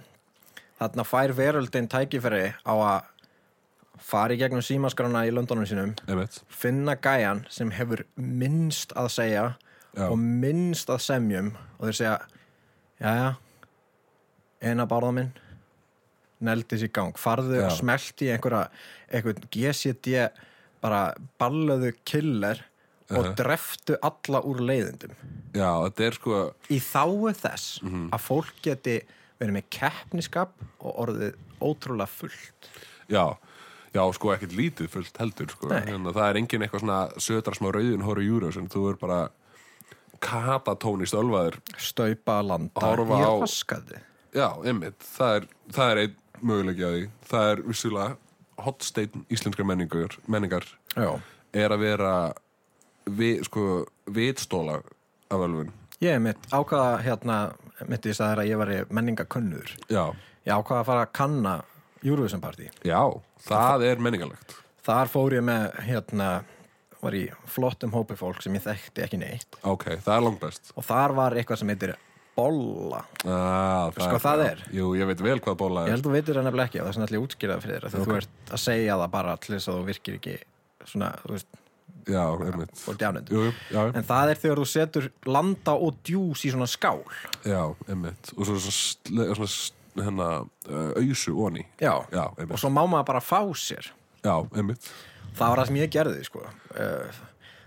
[SPEAKER 1] þarna fær veröldin tækifæri á að fara í gegnum símaskrana í löndunum sínum
[SPEAKER 2] Einmitt.
[SPEAKER 1] finna gæjan sem hefur minnst að segja
[SPEAKER 2] Já.
[SPEAKER 1] og minnst að semjum og þeir segja jæja, eina barða minn neldis í gang farðu
[SPEAKER 2] Já.
[SPEAKER 1] og smelt í einhverja einhvern GCD bara ballöðu killer og dreftu alla úr leiðindum
[SPEAKER 2] Já, þetta er sko
[SPEAKER 1] í þáu þess að fólk geti verið með keppniskap og orðið ótrúlega fullt
[SPEAKER 2] Já, já sko ekkert lítið fullt heldur sko.
[SPEAKER 1] Nei.
[SPEAKER 2] Þannig að Það er engin eitthvað svona sötra smá rauðin hóru júru sem þú er bara katatón í stölvaður
[SPEAKER 1] staupa að landa
[SPEAKER 2] Horfa
[SPEAKER 1] í
[SPEAKER 2] á-
[SPEAKER 1] raskadi
[SPEAKER 2] Já, einmitt, það er, það er einn möguleiki að því Það er vissulega hotsteinn íslenskar menningar, menningar
[SPEAKER 1] Já.
[SPEAKER 2] er að vera við, sko, vitstóla af alvun
[SPEAKER 1] ég er mitt ákvaða hérna mitt í staðar að ég væri menningakunnur
[SPEAKER 2] Já,
[SPEAKER 1] ég ákvaða að fara að kanna Eurovision Party
[SPEAKER 2] Já, það er menningarlegt
[SPEAKER 1] þar fór ég með hérna var í flottum hópi fólk sem ég þekkti ekki neitt
[SPEAKER 2] Ok, það er langbest
[SPEAKER 1] og þar var eitthvað sem heitir bolla
[SPEAKER 2] ah, það
[SPEAKER 1] Sko, það er.
[SPEAKER 2] Jú, ég veit vel hvað bóla
[SPEAKER 1] Ég held
[SPEAKER 2] er
[SPEAKER 1] að þú veitir það nefnilega ekki og þess vegna ætla ég að útskýra það fyrir þér af því þú ert að segja það bara til þess að þú virkir ekki svona, þú veist,
[SPEAKER 2] Já, einmitt
[SPEAKER 1] og djánendur
[SPEAKER 2] Jú, jú, já,
[SPEAKER 1] en það er þegar þú setur landa og djús í svona skál
[SPEAKER 2] já, einmitt Og svo svona, sle- svona s- hérna, uh, ausu onni
[SPEAKER 1] já,
[SPEAKER 2] Já,
[SPEAKER 1] og
[SPEAKER 2] einmitt
[SPEAKER 1] svo má maður bara fá sér
[SPEAKER 2] Já, einmitt
[SPEAKER 1] það var það sem ég gerði sko. Eh,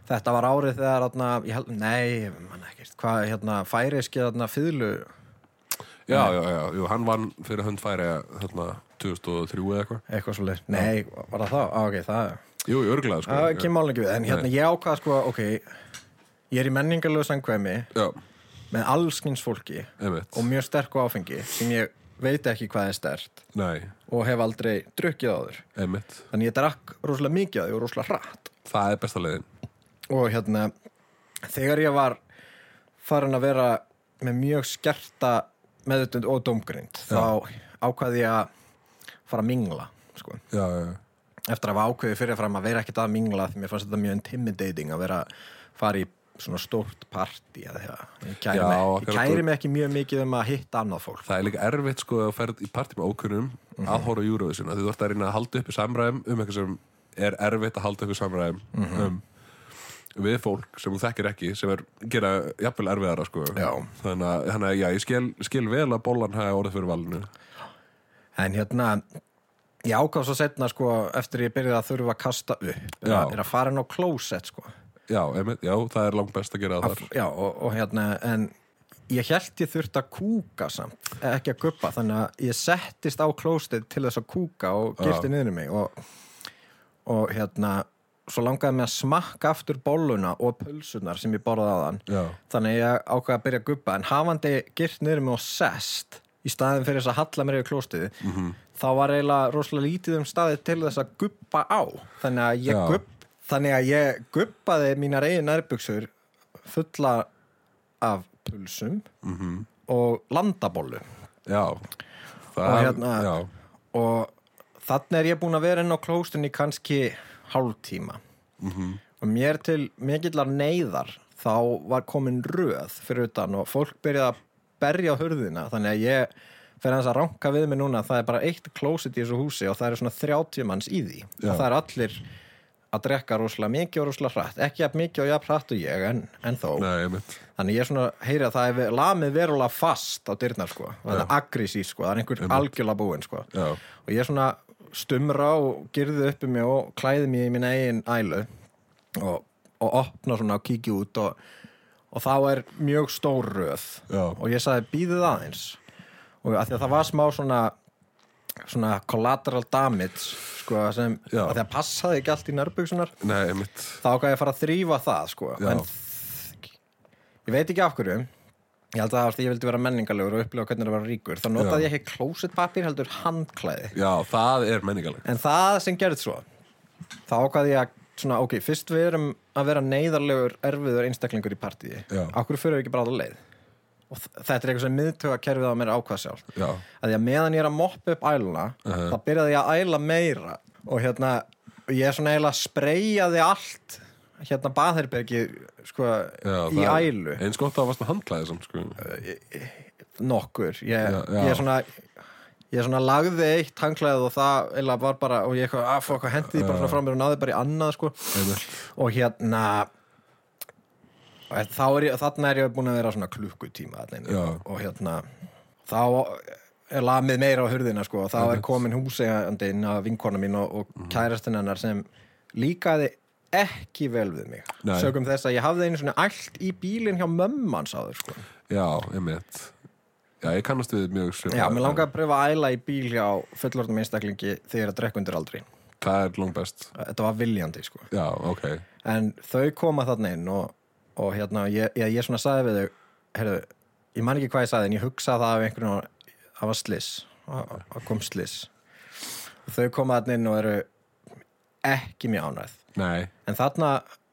[SPEAKER 1] þetta var árið þegar atna, ég held, nei, mann ekkert hvað, hérna, færiski þarna fýðlu
[SPEAKER 2] Já,
[SPEAKER 1] Eh.
[SPEAKER 2] já, já, jú, hann vann fyrir hönd færi hérna, 2003 eða eitthvað
[SPEAKER 1] eitthvað svo leið, nei, var það þá ah, ok, það
[SPEAKER 2] Jú, jú, örglega, sko
[SPEAKER 1] það kemur alveg ekki við, en hérna ég ákvað sko, ok, ég er í menningarlegu sangkvæmi
[SPEAKER 2] Já,
[SPEAKER 1] með allskins fólki
[SPEAKER 2] einmitt
[SPEAKER 1] og mjög sterku áfengi sem ég veit ekki hvað er stert
[SPEAKER 2] Nei,
[SPEAKER 1] og hef aldrei drukkið áður
[SPEAKER 2] einmitt
[SPEAKER 1] þannig ég drakk rosalega mikið af því og rosalega hratt
[SPEAKER 2] Það er besta leiðin
[SPEAKER 1] og hérna þegar ég var farin að vera með mjög skerta meðutund og dómgrind þá ákvaði ég að fara að mingla sko.
[SPEAKER 2] Já, já, já
[SPEAKER 1] eftir að hafa ákveði fyrirfram að vera ekkert að mingla því mér fannst þetta mjög intimidating að vera fara í svona stórt partí eða eitthvað. ég kæri,
[SPEAKER 2] Já,
[SPEAKER 1] mig, ég
[SPEAKER 2] akkurat.
[SPEAKER 1] kæri mig ekki mjög mikið um að hitta annað fólk
[SPEAKER 2] Það er líka erfitt sko að ferð í partí með ókunnum
[SPEAKER 1] Mhm.
[SPEAKER 2] að horfa á Eurovision að þú ert að reyna að halda upp í samræðum um eitthvað sem er erfitt að halda upp í samræðum
[SPEAKER 1] Mhm.
[SPEAKER 2] um, við fólk sem þú þekkir ekki sem er gera jafnvel erfiðara sko
[SPEAKER 1] Já.
[SPEAKER 2] þannig að, þannig að já, ég skil, skil vel að bollan hafa orðið fyrir valinu
[SPEAKER 1] En hérna, ég ákvað svo setna sko eftir ég byrjaði að þurfa að kasta upp
[SPEAKER 2] Já.
[SPEAKER 1] er að fara inn á klósett sko
[SPEAKER 2] já, emi, já, það er langt best að gera það þar
[SPEAKER 1] Já, og, og hérna, en ég held ég þurfti að kúka samt ekki að guppa, þannig að ég settist á klósett til þess að kúka og girti niður mig og, og hérna svo langaði mig að smakka aftur bolluna og pulsunar sem ég borðaði aðan
[SPEAKER 2] Já.
[SPEAKER 1] þannig ég ákvaði að byrja að guppa en hafandi gyrt niður mig og sest í staðin fyrir þess að halla mér yfir klóstiði þá var eiginlega rosalega lítið um staði til þess að guppa á þannig að ég,
[SPEAKER 2] Já.
[SPEAKER 1] gupp, þannig að ég guppaði mínar eigin nærbuksur fulla af pulsum og landabollu
[SPEAKER 2] Mhm. Já
[SPEAKER 1] Og
[SPEAKER 2] Það,
[SPEAKER 1] hérna-
[SPEAKER 2] já,
[SPEAKER 1] og þannig er ég búin að vera inn á klóstunni kannski hálftíma
[SPEAKER 2] Mhm.
[SPEAKER 1] og mér til mikillar neyðar þá var komin röð fyrir utan og fólk byrjaði að berja á hurðina þannig að ég fer hans að ranka við mig núna það er bara eitt klósit í þessu húsi og það eru svona 30 manns í því
[SPEAKER 2] Já.
[SPEAKER 1] og það er allir að drekka rosalega mikið og rosalega hratt ekki að mikið og jafn hratt og ég en, en þó
[SPEAKER 2] nei, mitt
[SPEAKER 1] Þannig ég er svona, heyri að það er ve- lamið verulega fast á dyrnar sko, það er agrisí sko, það er einhver algjörlega búinn sko.
[SPEAKER 2] Já.
[SPEAKER 1] Og ég er svona stumra og gerði uppi mig og klæði mig í minna eigin ælu og, og opna svona og kíkja út og, og þá er mjög stór röð
[SPEAKER 2] Já.
[SPEAKER 1] og ég sagði býðið aðeins og að því að það var smá svona svona collateral damage sko sem,
[SPEAKER 2] Já.
[SPEAKER 1] að því að passaði ekki allt í nærbuksunar
[SPEAKER 2] Nei, mitt
[SPEAKER 1] þá ákvað ég að fara að þrýfa það sko.
[SPEAKER 2] Já.
[SPEAKER 1] en þ- ég veit ekki af hverju ég held að það var því ég vildi vera menningarlegur og upplifa hvernig það var ríkur þá notaði
[SPEAKER 2] Já.
[SPEAKER 1] ég ekki klósetpapir heldur handklæði
[SPEAKER 2] Já, það er menningaleg
[SPEAKER 1] en það sem gerði svo þá ákvað ég að svona, ok, fyrst við erum að vera neyðarlegur erfiður einstaklingur í partíi
[SPEAKER 2] Já.
[SPEAKER 1] okkur fyrir við ekki bara að leið og þ- þetta er eitthvað sem miðtöga kerfið á mér ákvað sjálf
[SPEAKER 2] Já,
[SPEAKER 1] að því að meðan ég er að moppa upp æluna þá byrjaði ég að æla meira og hérna, og ég er svona eiginlega að spreyjaði allt hérna baðherbergi, sko
[SPEAKER 2] já
[SPEAKER 1] í
[SPEAKER 2] það er-
[SPEAKER 1] ælu,
[SPEAKER 2] Eins gott að það varst með handklæði samt, sko
[SPEAKER 1] nokkur ég,
[SPEAKER 2] Já, já.
[SPEAKER 1] ég er svona ég er svona lagði eitt hanglaðið og það eiginlega var bara, og ég eitthvað, að fók að hendi því bara svona frá mér og náði bara í annað, sko
[SPEAKER 2] Einmitt.
[SPEAKER 1] og hérna og þá er ég, þarna er ég búin að vera svona klukkutíma þarna inni,
[SPEAKER 2] Já.
[SPEAKER 1] og, og hérna þá er lamið meira á hurðina sko og þá er komin húsegandinn af vinkona mín og,
[SPEAKER 2] Mhm.
[SPEAKER 1] og kærastinn hennar sem líkaði ekki vel við mig
[SPEAKER 2] Nei.
[SPEAKER 1] sögum þess að ég hafði einu svona allt í bílinn hjá mömman sáður sko
[SPEAKER 2] Já, einmitt Já, ég kannast við mjög svipað.
[SPEAKER 1] já, mér langaði að pröfa að æla í bíl hjá fullorðnum einstaklingi þegar að drekka undir aldri
[SPEAKER 2] Það er langt best
[SPEAKER 1] þetta var viljandi sko
[SPEAKER 2] Já, ok
[SPEAKER 1] en þau koma þarna inn og, og hérna, ég, ég, ég svona sagði við þau heyrðu, ég man ekki hvað ég sagði en ég hugsa það af einhvern veginn það var sliss, að að kom sliss og þau koma þarna inn og eru ekki mjög ánægð
[SPEAKER 2] Nei,
[SPEAKER 1] en þarna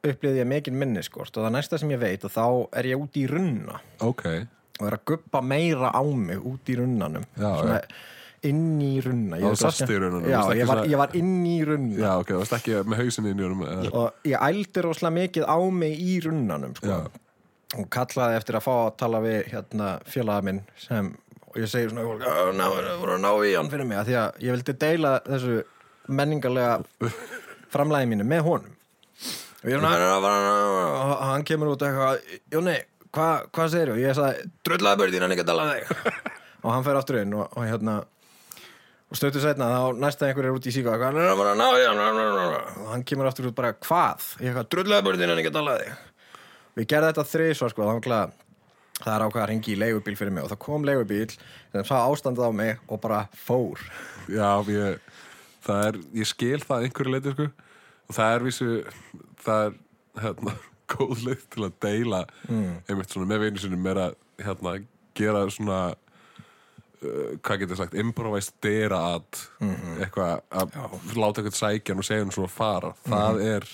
[SPEAKER 1] upplýði ég mikinn minniskort og það næsta sem ég veit og þá er ég úti í runna
[SPEAKER 2] ok
[SPEAKER 1] og er að guppa meira á mig út í runnanum
[SPEAKER 2] Já,
[SPEAKER 1] inn í runna Ég
[SPEAKER 2] Já,
[SPEAKER 1] er
[SPEAKER 2] þú sast
[SPEAKER 1] kannski-
[SPEAKER 2] í runnanum,
[SPEAKER 1] já,
[SPEAKER 2] þú varst ekki
[SPEAKER 1] ég, var,
[SPEAKER 2] svona-
[SPEAKER 1] ég var inn í runna
[SPEAKER 2] Já, ok, það varst ekki með hausinni inn í honum eða-
[SPEAKER 1] og ég ældi rosalega mikið á mig í runnanum sko.
[SPEAKER 2] Já.
[SPEAKER 1] og kallaði eftir að fá að tala við hérna, félaga minn sem, og ég segi svona fólk, "Á, ná, voru að ná í hann fyrir mig af því að ég vildi deila þessu menningarlega framlæði mínu með honum og ég er svona "Ná, ná, ná, ná, ná," og hann kemur út eitthvað Jóni, hva, hvað segir þú? ég sagði, dröllaði börðin hann ekki að tala við þig og hann fer aftur inn og, og hérna og stöttu setna þá næsta einhver er út í síku og hann er bara að ná í hann, ná, ná, ná, ná. og hann kemur aftur út bara hvað ég eitthvað drullega börðin en ekki talaði við gerði þetta þrisvar sko þá var það er ákvað að ringi í leigubíl fyrir mig og það kom leigubíl sem sá ástandið á mig og bara fór
[SPEAKER 2] Já, ég, það er, ég skil það að einhverju leiti, sko. Og það er vissu, það er, hérna, góð leið til að deila, einmitt svona með veginu sinni, með að, hérna, gera svona, uh, hvað getur sagt, improvised dera að, eitthvað, að láta eitthvað sækjan og segja hann svo að fara. Það er,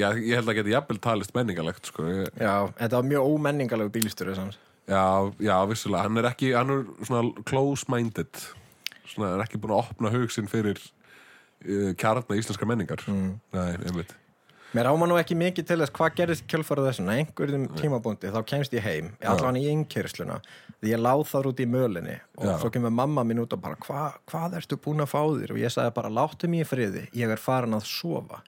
[SPEAKER 2] já, ég held að geta jafnvel talist menningalegt, sko. Ég,
[SPEAKER 1] já, þetta var mjög ómenningalegu bílstjóri samt.
[SPEAKER 2] já, já, vissulega, hann er ekki, hann er svona close-minded, svona er ekki búin að opna hug sinn fyrir uh, kjarna íslenska menningar. Mm. Nei, einmitt.
[SPEAKER 1] mér áma nú ekki mikið til þess hvað gerðist kjölfarað þessu en að einhverjum tímabúndi þá kemst ég heim allan í innkyrsluna því ég láð þar út í mölinni og
[SPEAKER 2] Já.
[SPEAKER 1] svo kemur mamma mín út og bara Hva, hvað ertu búin að fá þér og ég sagði bara láttu mér í friði, ég er farin að sofa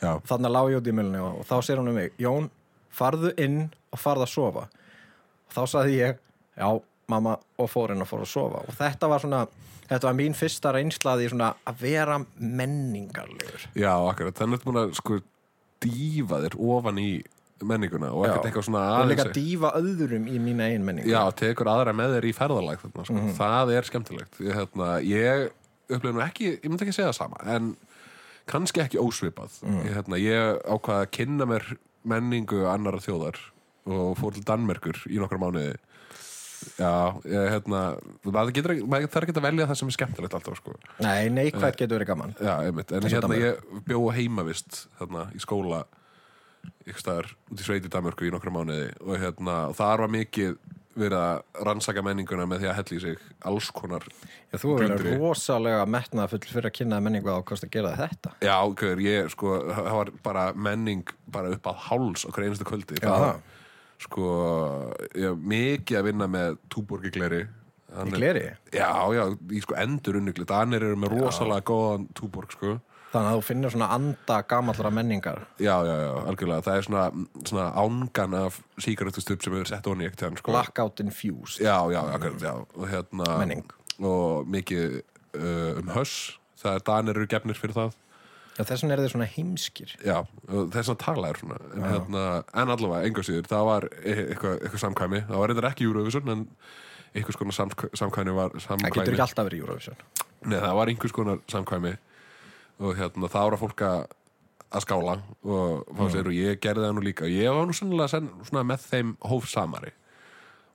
[SPEAKER 2] Já,
[SPEAKER 1] þannig að lág ég út í mölunni og, og þá sér hún um mig Jón, farðu inn og farðu að sofa og þá saði ég já, mamma, og fór inn og fór að sofa og þetta var svona, þetta var mín fyrsta reynslaði svona að vera menningarlegur
[SPEAKER 2] já, akkurat, þannig er búin að sko dýfa þér ofan í menninguna og
[SPEAKER 1] Já.
[SPEAKER 2] ekkert eitthvað svona
[SPEAKER 1] og líka
[SPEAKER 2] að-
[SPEAKER 1] dýfa öðrum í mína eigin menningu
[SPEAKER 2] Já, tekur aðra með þér í ferðalag þarna, sko. Það er skemmtilegt. Ég, hérna, ég upplega nú ekki, ég myndi ekki segja það sama, en kannski ekki ósvipað ég, hérna, ég ákvað að kynna mér menningu annara þjóðar og fór til Danmerkur í nokkra mánuði já, ég, hérna maður, getur, ekki- maður þarf ekki að velja það sem er skemmtilegt alltaf sko.
[SPEAKER 1] Nei, nei, hvað getur verið gaman
[SPEAKER 2] já, einmitt, en
[SPEAKER 1] Eins og
[SPEAKER 2] hérna ég bjó á heimavist hérna, í skóla ykkur staðar út í sveit í Danmörku í nokkra mánuði og hérna, þar var mikið verið að rannsaka menninguna með því að hella í sig alls konar
[SPEAKER 1] Já, Þú hefur verið
[SPEAKER 2] Blöndri.
[SPEAKER 1] rosalega metnafull fyrir að kynna menningu á kost að gera þetta
[SPEAKER 2] Já, hver, ég, sko, það var bara menning bara upp að háls okkur einstu kvöldi
[SPEAKER 1] Jaha.
[SPEAKER 2] það, sko, ég, var mikið að vinna með túborg í gleri
[SPEAKER 1] Í gleri?
[SPEAKER 2] Já, já, í sko endur unnugli Danir eru með rosalega góðan túborg, sko
[SPEAKER 1] Þannig að þú finnir svona anda gamallra menningar
[SPEAKER 2] Já, já, já, algjörlega, það er svona, svona ángan af síkaretustup sem hefur sett onni ekkert hann, sko
[SPEAKER 1] Blackout infused
[SPEAKER 2] Já, já, akkurat, já, og hérna
[SPEAKER 1] Menning.
[SPEAKER 2] Og mikið uh, um höss, það er Danir eru gefnir fyrir það
[SPEAKER 1] Já, Þess vegna er þið svona heimskir
[SPEAKER 2] Já, og þess að tala er svona en, hérna, en allavega, enga síður, það var e- eitthvað, eitthvað samkvæmi, það var reyndar ekki Eurovision en einhvers konar samk samkvæmi var
[SPEAKER 1] Það getur
[SPEAKER 2] samkvæmi,
[SPEAKER 1] ekki alltaf verið Eurovision
[SPEAKER 2] Nei, það var einhvers konar samkvæmi og hérna, það var að fólk að að skála og, mm. sér, og ég gerði það nú líka og ég var nú sennilega sen, svona með þeim hófsamari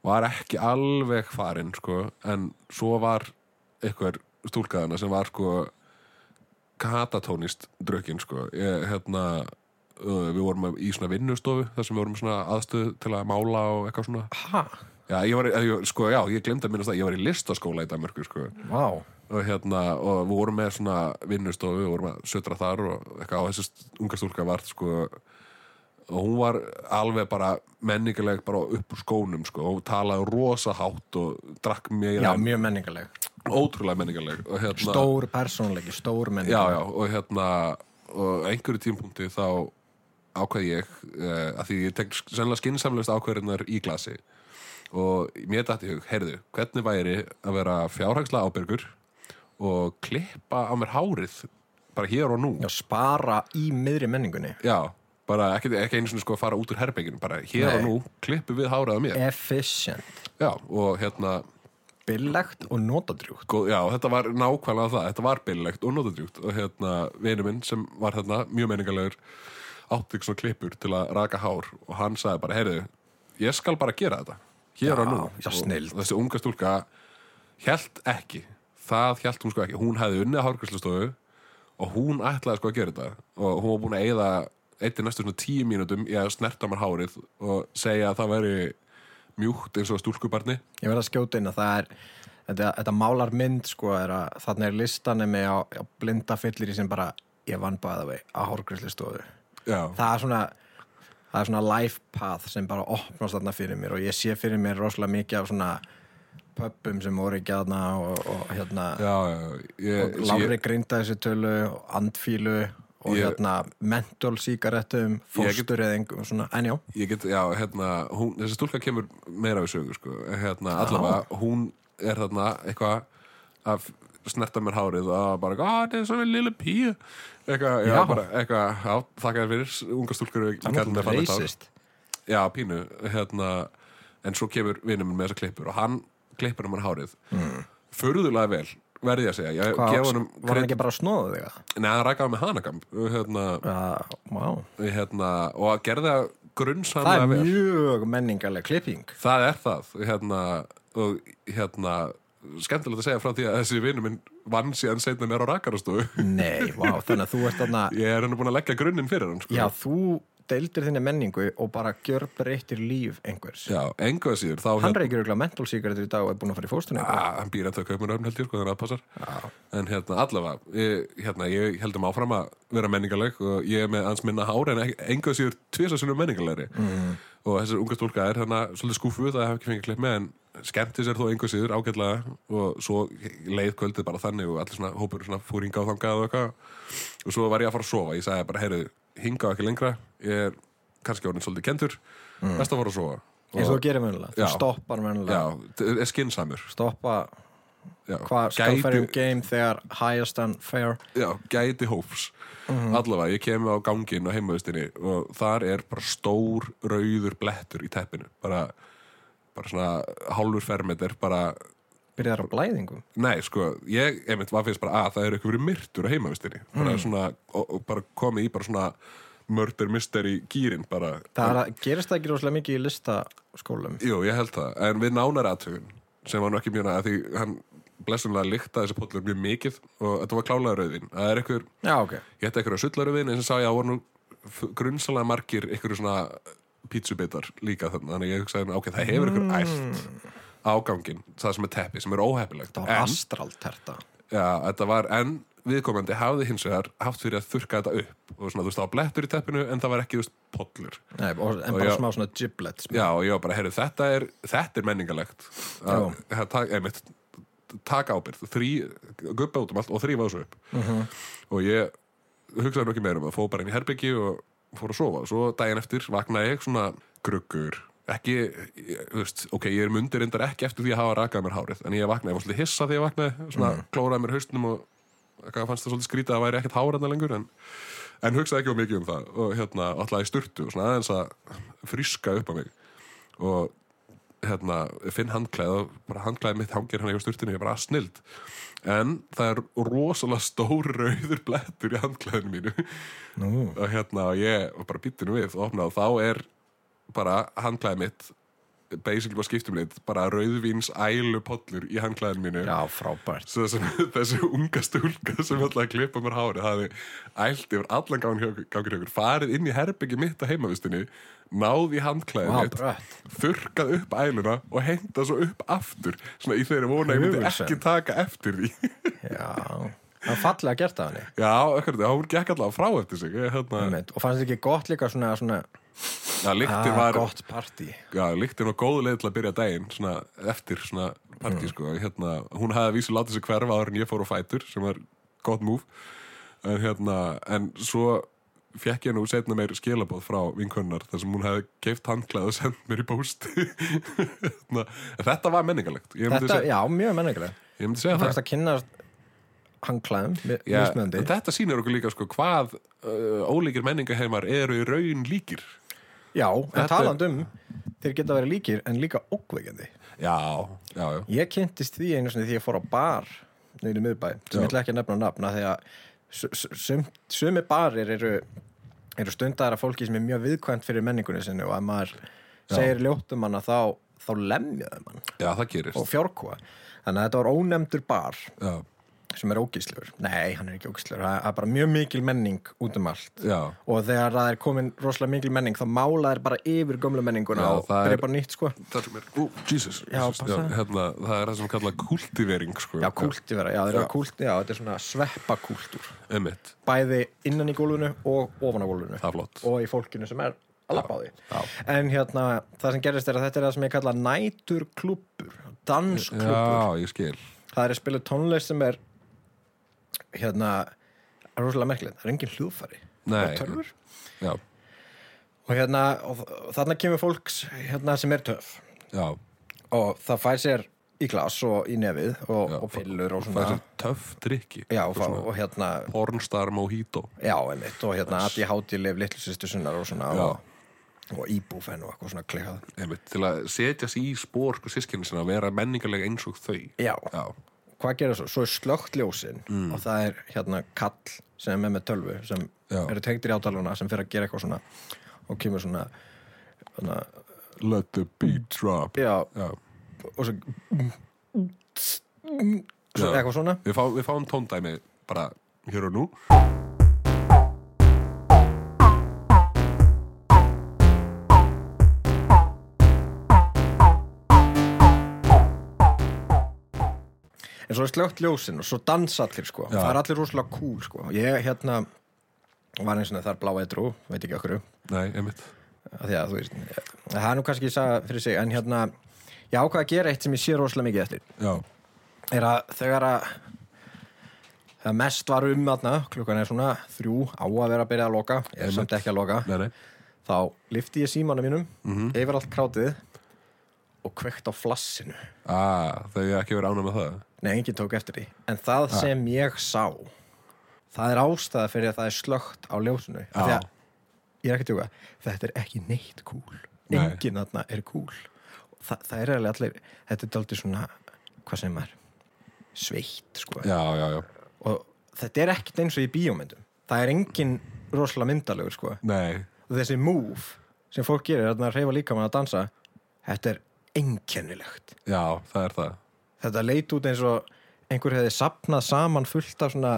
[SPEAKER 2] var ekki alveg farinn sko, en svo var einhver stúlkaðana sem var sko katatónist drukkin sko. ég, hérna, uh, við vorum í svona vinnustofu þar sem við vorum með svona aðstöð til að mála og eitthvað svona
[SPEAKER 1] Ha?
[SPEAKER 2] já, ég var, í- ég, sko, já, ég glemd að minnast það ég var í listaskóla í Danmörku sko
[SPEAKER 1] Vá
[SPEAKER 2] og hérna, og við vorum með svona vinnustofu, við vorum að sötra þar og eitthvað á þessi st- unga stúlka var sko, og hún var alveg bara menningileg bara upp úr skónum sko, og talaði rosa hátt og drakk
[SPEAKER 1] Já,
[SPEAKER 2] meira,
[SPEAKER 1] mjög menningarleg
[SPEAKER 2] ótrúlega menningileg og hérna,
[SPEAKER 1] Stór persónleiki, stór
[SPEAKER 2] já,
[SPEAKER 1] menningarleg
[SPEAKER 2] já, og hérna og á einhverju tímpunkti þá ákvað ég uh, að því ég tek sennilega skynnsamlegust ákvarðinnar í glasi og mér dætti hug, heyrðu, hvernig væri að vera fjárhagslega ábyrgur og klippa á mér hárið bara hér og nú
[SPEAKER 1] Já, spara í miðri menningunni
[SPEAKER 2] Já, bara ekki, ekki einu svona sko að fara út úr herbygginu bara hér
[SPEAKER 1] Nei.
[SPEAKER 2] og nú, klippu við hárið á mér
[SPEAKER 1] Efficient,
[SPEAKER 2] Já, og hérna
[SPEAKER 1] billegt og notadrjúkt
[SPEAKER 2] Góð, Sko, já, þetta var nákvæmlega það, þetta var billegt og notadrjúkt og hérna vinur minn sem var hérna mjög meningalegur átti ekki svona klippur til að raka hár og hann sagði bara, heyrðu, ég skal bara gera þetta, hér og nú
[SPEAKER 1] já,
[SPEAKER 2] Og
[SPEAKER 1] snilld.
[SPEAKER 2] Þessi unga stúlka held ekki, það held hún sko ekki hún hefði unnið að hárgræslustofu og hún ætlaði sko að gera þetta og hún var búin að eyða eitthi næstu svona tíu mínútum í að snerta mér hárið og segja að það væri mjúkt eins og stúlkubarni
[SPEAKER 1] Ég verð að skjóta inn að það er þetta, þetta málar mynd sko er að þarna er listanum með á, á blinda fyllir í sem bara ég vann bæða vei á hórgrislistofu
[SPEAKER 2] Já,
[SPEAKER 1] það er svona það er svona life path sem bara opnast þarna fyrir mér og ég sé fyrir mér rosalega mikið af svona pöppum sem voru ekki aðna og, og hérna
[SPEAKER 2] já, já, ég,
[SPEAKER 1] lári grinda þessu tölu og andfílu og
[SPEAKER 2] Ég-
[SPEAKER 1] hérna mentól síkarettum,
[SPEAKER 2] Ég get-
[SPEAKER 1] fóstur eða einhver svona, en já,
[SPEAKER 2] ég get, já, hérna hún, þessi stúlka kemur meira við sögu sko. hérna, allavega, hún er þarna eitthvað að f- snerta mér hárið og bara, að þetta er svona lilla píu eitthvað, já,
[SPEAKER 1] Já.
[SPEAKER 2] bara, eitthvað já, þakka þér fyrir, unga stúlkur
[SPEAKER 1] það
[SPEAKER 2] við
[SPEAKER 1] er
[SPEAKER 2] kallum þér
[SPEAKER 1] náttúrulega
[SPEAKER 2] fallegt hár.
[SPEAKER 1] reisist
[SPEAKER 2] já, pínu, hérna en svo kemur vinur minn með þessar klippur og hann klippur mér hárið mm. furðulega vel, verði ég að segja ég
[SPEAKER 1] Hvað,
[SPEAKER 2] gef honum,
[SPEAKER 1] var hann ekki bara að snóða þig að?
[SPEAKER 2] neða, hann rækaði með hanakamp hérna,
[SPEAKER 1] Uh, wow.
[SPEAKER 2] hérna, og gerði það
[SPEAKER 1] Það
[SPEAKER 2] grunnsamlega
[SPEAKER 1] er
[SPEAKER 2] vel
[SPEAKER 1] mjög menningarleg klipping
[SPEAKER 2] Það er það hérna, og hérna skemmtilegt að segja frá því að þessi vinur minn vann síðan seinna mér á rakarastofu
[SPEAKER 1] Nei, vá, þannig að þú ert þarna
[SPEAKER 2] ég er henni búin að leggja grunninn fyrir hann sko.
[SPEAKER 1] Já, þú deildir þinni menningu og bara gjör breyttir líf einhvers
[SPEAKER 2] Já, engu að síður þá,
[SPEAKER 1] Hann reykir auðvitað mentólsíkaretur í dag og er búin að fara í fóstunni
[SPEAKER 2] að, hann býr eftir að kaupa mér öfn held ég sko, þannig að það passar Já. en hérna, allavega, ég, hérna, ég heldum áfram að vera menningaleg og ég er með hans minna hár en ekki- engu að síður tvisa sinni menningalegri
[SPEAKER 1] Mhm.
[SPEAKER 2] mm. og þessar unga stúlka er hérna svolítið skúfuð að hafa ekki fengið klipp með en skemmti sér þó engu að síður ágætlega og svo leið kvöldið bara þannig og allir svona hópur svona fór hingað og þangað og eitthvað og svo var ég að fara að sofa ég sagði bara, heyrðu, hingað ekki lengra ég er kannski orðin svolítið kentur best að fara að sofa
[SPEAKER 1] Mm. eins og þú gerir mennilega, þú
[SPEAKER 2] Já.
[SPEAKER 1] stoppar mennilega
[SPEAKER 2] Já, þetta er skinsamur
[SPEAKER 1] Stoppa
[SPEAKER 2] Já,
[SPEAKER 1] hvað
[SPEAKER 2] gæti-
[SPEAKER 1] skafferjum game þegar highest and fair
[SPEAKER 2] já, gæti hófs allavega, ég kem á ganginn á heimavistinni og þar er bara stór rauður blettur í teppinu bara, bara svona hálfur fermeter bara
[SPEAKER 1] byrjar að blæðingum
[SPEAKER 2] Nei, sko, ég einmitt var fyrst bara að það eru eitthvað verið myrtur á heimavistinni bara svona, og, og bara komið í bara svona murder mystery gýrin bara,
[SPEAKER 1] það er að, gerist það ekki rosalega mikið í listaskólum
[SPEAKER 2] jú, ég held það en við nánari aðtögun, sem var nú ekki mjög næ því hann blessunlega líkta þessi póllur mjög mikið og þetta var klálega rauðin það er eitthvað,
[SPEAKER 1] já ok,
[SPEAKER 2] ég hætti eitthvað sullaröfin eins og sá ég að voru nú grunnsalega margir eitthvað svona pítsubitar líka þannig, þannig að ég hugsaði, ok, það hefur eitthvað
[SPEAKER 1] Mm.
[SPEAKER 2] ælt ágangin, það sem er teppi, sem er óhefilegt
[SPEAKER 1] það var astralt herta
[SPEAKER 2] Já, þetta var, en viðkomandi hafði hins vegar haft fyrir að þurka þetta upp og svona, þú veist, það var blettur í teppinu en það var ekki, þú veist, pollur
[SPEAKER 1] Nei, og, en
[SPEAKER 2] Og
[SPEAKER 1] bara
[SPEAKER 2] já.
[SPEAKER 1] smá svona giblets
[SPEAKER 2] Já, og ég var bara, heyrðu, þetta er þetta er menningalegt að, að, að, einmitt, taka ábyrgð, þrý guppa út um allt og þrýfa þessu upp og ég hugsaði nú ekki meira um það, fóð bara inn í herbyggi og fór að sofa, svo daginn eftir vaknaði ég svona gruggur ekki, ég- þú veist, ok, ég er mundir reyndar ekki eftir því að hafa rakað mér hárið en ég vaknaði, ég var svolítið hissa þegar ég vaknaði svona klóraði mér haustnum og eitthvað fannst það svolítið skrítið að það væri ekkert hárið lengur en, en hugsaði ekki of mikið um það og hérna, alltaf í sturtu og svona aðeins að friska upp á mig og hérna, finn handklæð og bara handklæði mitt hangir hann yfir sturtinu, ég er bara að snild en það er rosalega stór rauður blettur í handklæðinu mínu
[SPEAKER 1] Nú.
[SPEAKER 2] og hérna, og ég var bara býttinu við og opnaði og þá er bara handklæði mitt basically bara skiptum lit, bara rauðvíns ælupollur í handklæðinu mínu
[SPEAKER 1] já frábært
[SPEAKER 2] Svo sem, þessi unga stúlka sem ætlaði að klippa mér hárið hafði ælt yfir allan gangi gangi hjókur farið inn í herbyggi mitt að heimavistinni náði í handklæðið
[SPEAKER 1] Vá,
[SPEAKER 2] mitt
[SPEAKER 1] brött.
[SPEAKER 2] þurkað upp æluna og henda svo upp aftur svona í þeirri vona að ég myndi
[SPEAKER 1] Höfuðsem.
[SPEAKER 2] ekki taka eftir því
[SPEAKER 1] já, það var fallega gert af henni
[SPEAKER 2] já, ekkert, hún gekk allavega frá eftir sig Ég, hérna,
[SPEAKER 1] Einmitt. og fannst þetta ekki gott líka svona, svona
[SPEAKER 2] já, lyktin
[SPEAKER 1] ah,
[SPEAKER 2] var
[SPEAKER 1] gott party
[SPEAKER 2] já, lyktin var góð leið til að byrja daginn svona, eftir svona partí sko. hérna, hún hafði vísu látið sig hverfa áður en ég fór á fætur sem var gott múf en, hérna, en svo fekk ég nú setna meir skilaboð frá vinkunnar þar sem hún hefði keift handklæð og sendt mér í bósti hérna, en þetta var menningalegt ég myndi,
[SPEAKER 1] þetta,
[SPEAKER 2] seg,
[SPEAKER 1] já, mjög menningileg
[SPEAKER 2] ég myndi segja það
[SPEAKER 1] fannst að kynnast hangklæðum mi-
[SPEAKER 2] Já,
[SPEAKER 1] mismunandi
[SPEAKER 2] en þetta sýnir okkur líka sko, hvað uh, ólíkir menningaheimar eru í raun líkir
[SPEAKER 1] já, en
[SPEAKER 2] Þetta-
[SPEAKER 1] taland um þeir geta verið líkir en líka ókveikandi
[SPEAKER 2] Já, já, já
[SPEAKER 1] ég kynntist því einu sinni því ég fór á bar nýri miðbæ, sem
[SPEAKER 2] Já.
[SPEAKER 1] ég ætla ekki að nefna nafna því að su- su- sum- sumi barir eru, eru stundar af fólki sem er mjög viðkvæmt fyrir menningunni sinni og að maður segir ljóttum hana þá, þá lemjaði mann
[SPEAKER 2] Já, það gerist
[SPEAKER 1] og fjárkúa þannig að þetta var ónefndur bar
[SPEAKER 2] Já,
[SPEAKER 1] sem er ógíslegur Nei, hann er ekki ógíslegur, það það er bara mjög mikil menning út um allt
[SPEAKER 2] já
[SPEAKER 1] og þegar það er komin rosalega mikil menning þá mála er bara yfir gömlu menninguna
[SPEAKER 2] Já,
[SPEAKER 1] og
[SPEAKER 2] það
[SPEAKER 1] byrja
[SPEAKER 2] er-
[SPEAKER 1] bara nýtt sko
[SPEAKER 2] Það er mér, ú, Jesus,
[SPEAKER 1] Já,
[SPEAKER 2] Jesus
[SPEAKER 1] passa.
[SPEAKER 2] hérna, Það er það sem kallað kultivering sko.
[SPEAKER 1] Já, kúlti vera, já, þeir
[SPEAKER 2] Já.
[SPEAKER 1] eru kúlti, já, þetta er svona sveppakúltúr
[SPEAKER 2] Einmitt,
[SPEAKER 1] bæði innan í gólfinu og ofan á gólfinu
[SPEAKER 2] það er flott
[SPEAKER 1] og í fólkinu sem er að lappa á því
[SPEAKER 2] Já,
[SPEAKER 1] en hérna, það sem gerist er að þetta er það sem ég kalla næturklúppur dansklúppur,
[SPEAKER 2] já ég skil
[SPEAKER 1] það er að spila tónlist sem er hérna, rosalega merkilegt það er engin hljóðfari, það
[SPEAKER 2] Nei.
[SPEAKER 1] er törfur
[SPEAKER 2] Já,
[SPEAKER 1] og hérna, og og þarna kemur fólks hérna sem er töf
[SPEAKER 2] já
[SPEAKER 1] og það fær sér í glas og í nefið og,
[SPEAKER 2] Já,
[SPEAKER 1] og pillur og
[SPEAKER 2] Það
[SPEAKER 1] svona
[SPEAKER 2] er sér töff drikki
[SPEAKER 1] já, og, fá- og hérna,
[SPEAKER 2] Pornstar mojito
[SPEAKER 1] já, einmitt og hérna að ég háti lif litlu sýstu sunnar og svona
[SPEAKER 2] Já.
[SPEAKER 1] og, og íbúfen og eitthvað svona klikkað
[SPEAKER 2] Einmitt, til að setja sig í spór sko sískinni sinna að vera menningarlega eins og þau
[SPEAKER 1] já,
[SPEAKER 2] Já, Mm.
[SPEAKER 1] hvað gerir svo? Svo er slögt ljósin og það er hérna kall sem er með tölvu sem
[SPEAKER 2] Já.
[SPEAKER 1] eru tengdir í átaluna sem fyrir að gera eitthvað svona og kemur svona hérna,
[SPEAKER 2] let the beat drop
[SPEAKER 1] já,
[SPEAKER 2] Já
[SPEAKER 1] og svo svo
[SPEAKER 2] Já.
[SPEAKER 1] eitthvað svona
[SPEAKER 2] Við, fá, við fáum tóndæmi bara hér og nú
[SPEAKER 1] en svo er slögt ljósin og svo dansa allir sko
[SPEAKER 2] Já.
[SPEAKER 1] það er allir rosalega cool sko ég hérna var eins og þar blá eitrú, veit ekki okkur af
[SPEAKER 2] Nei, einmitt
[SPEAKER 1] því að þú veist, það er nú kannski að sagða fyrir sig, en hérna ég ákvað að gera eitt sem ég sé rosalega mikið eftir
[SPEAKER 2] Já,
[SPEAKER 1] er að þegar að þegar mest var um aðna klukkan er svona þrjú á að vera að byrja að loka ég er
[SPEAKER 2] Einmitt.
[SPEAKER 1] samt ekki að loka
[SPEAKER 2] nei, nei
[SPEAKER 1] þá lifti ég símanum mínum yfir allt krátið og kveikt á flassinu
[SPEAKER 2] ah, Þau hefur ekki verið ánað með það
[SPEAKER 1] Nei, enginn tók eftir því. En það sem ég sá, það er ástæða fyrir að það er slögt á ljósinu. Af því
[SPEAKER 2] Já.
[SPEAKER 1] að, ég er ekki að tjóka, þetta er ekki neitt cool.
[SPEAKER 2] Nei.
[SPEAKER 1] Enginn þarna er cool. Þa, það er eiginlega allir, þetta er daldið svona hvað sem er sveitt sko
[SPEAKER 2] já, já, já,
[SPEAKER 1] og þetta er ekkert eins og í bíómyndum það er engin rosalega myndalögur sko
[SPEAKER 2] nei
[SPEAKER 1] og þessi move sem fólk gerir þarna að reyfa líka að dansa þetta er einkennilegt
[SPEAKER 2] já, það er það
[SPEAKER 1] þetta leit út eins og einhver hefði sapnað saman fullt af svona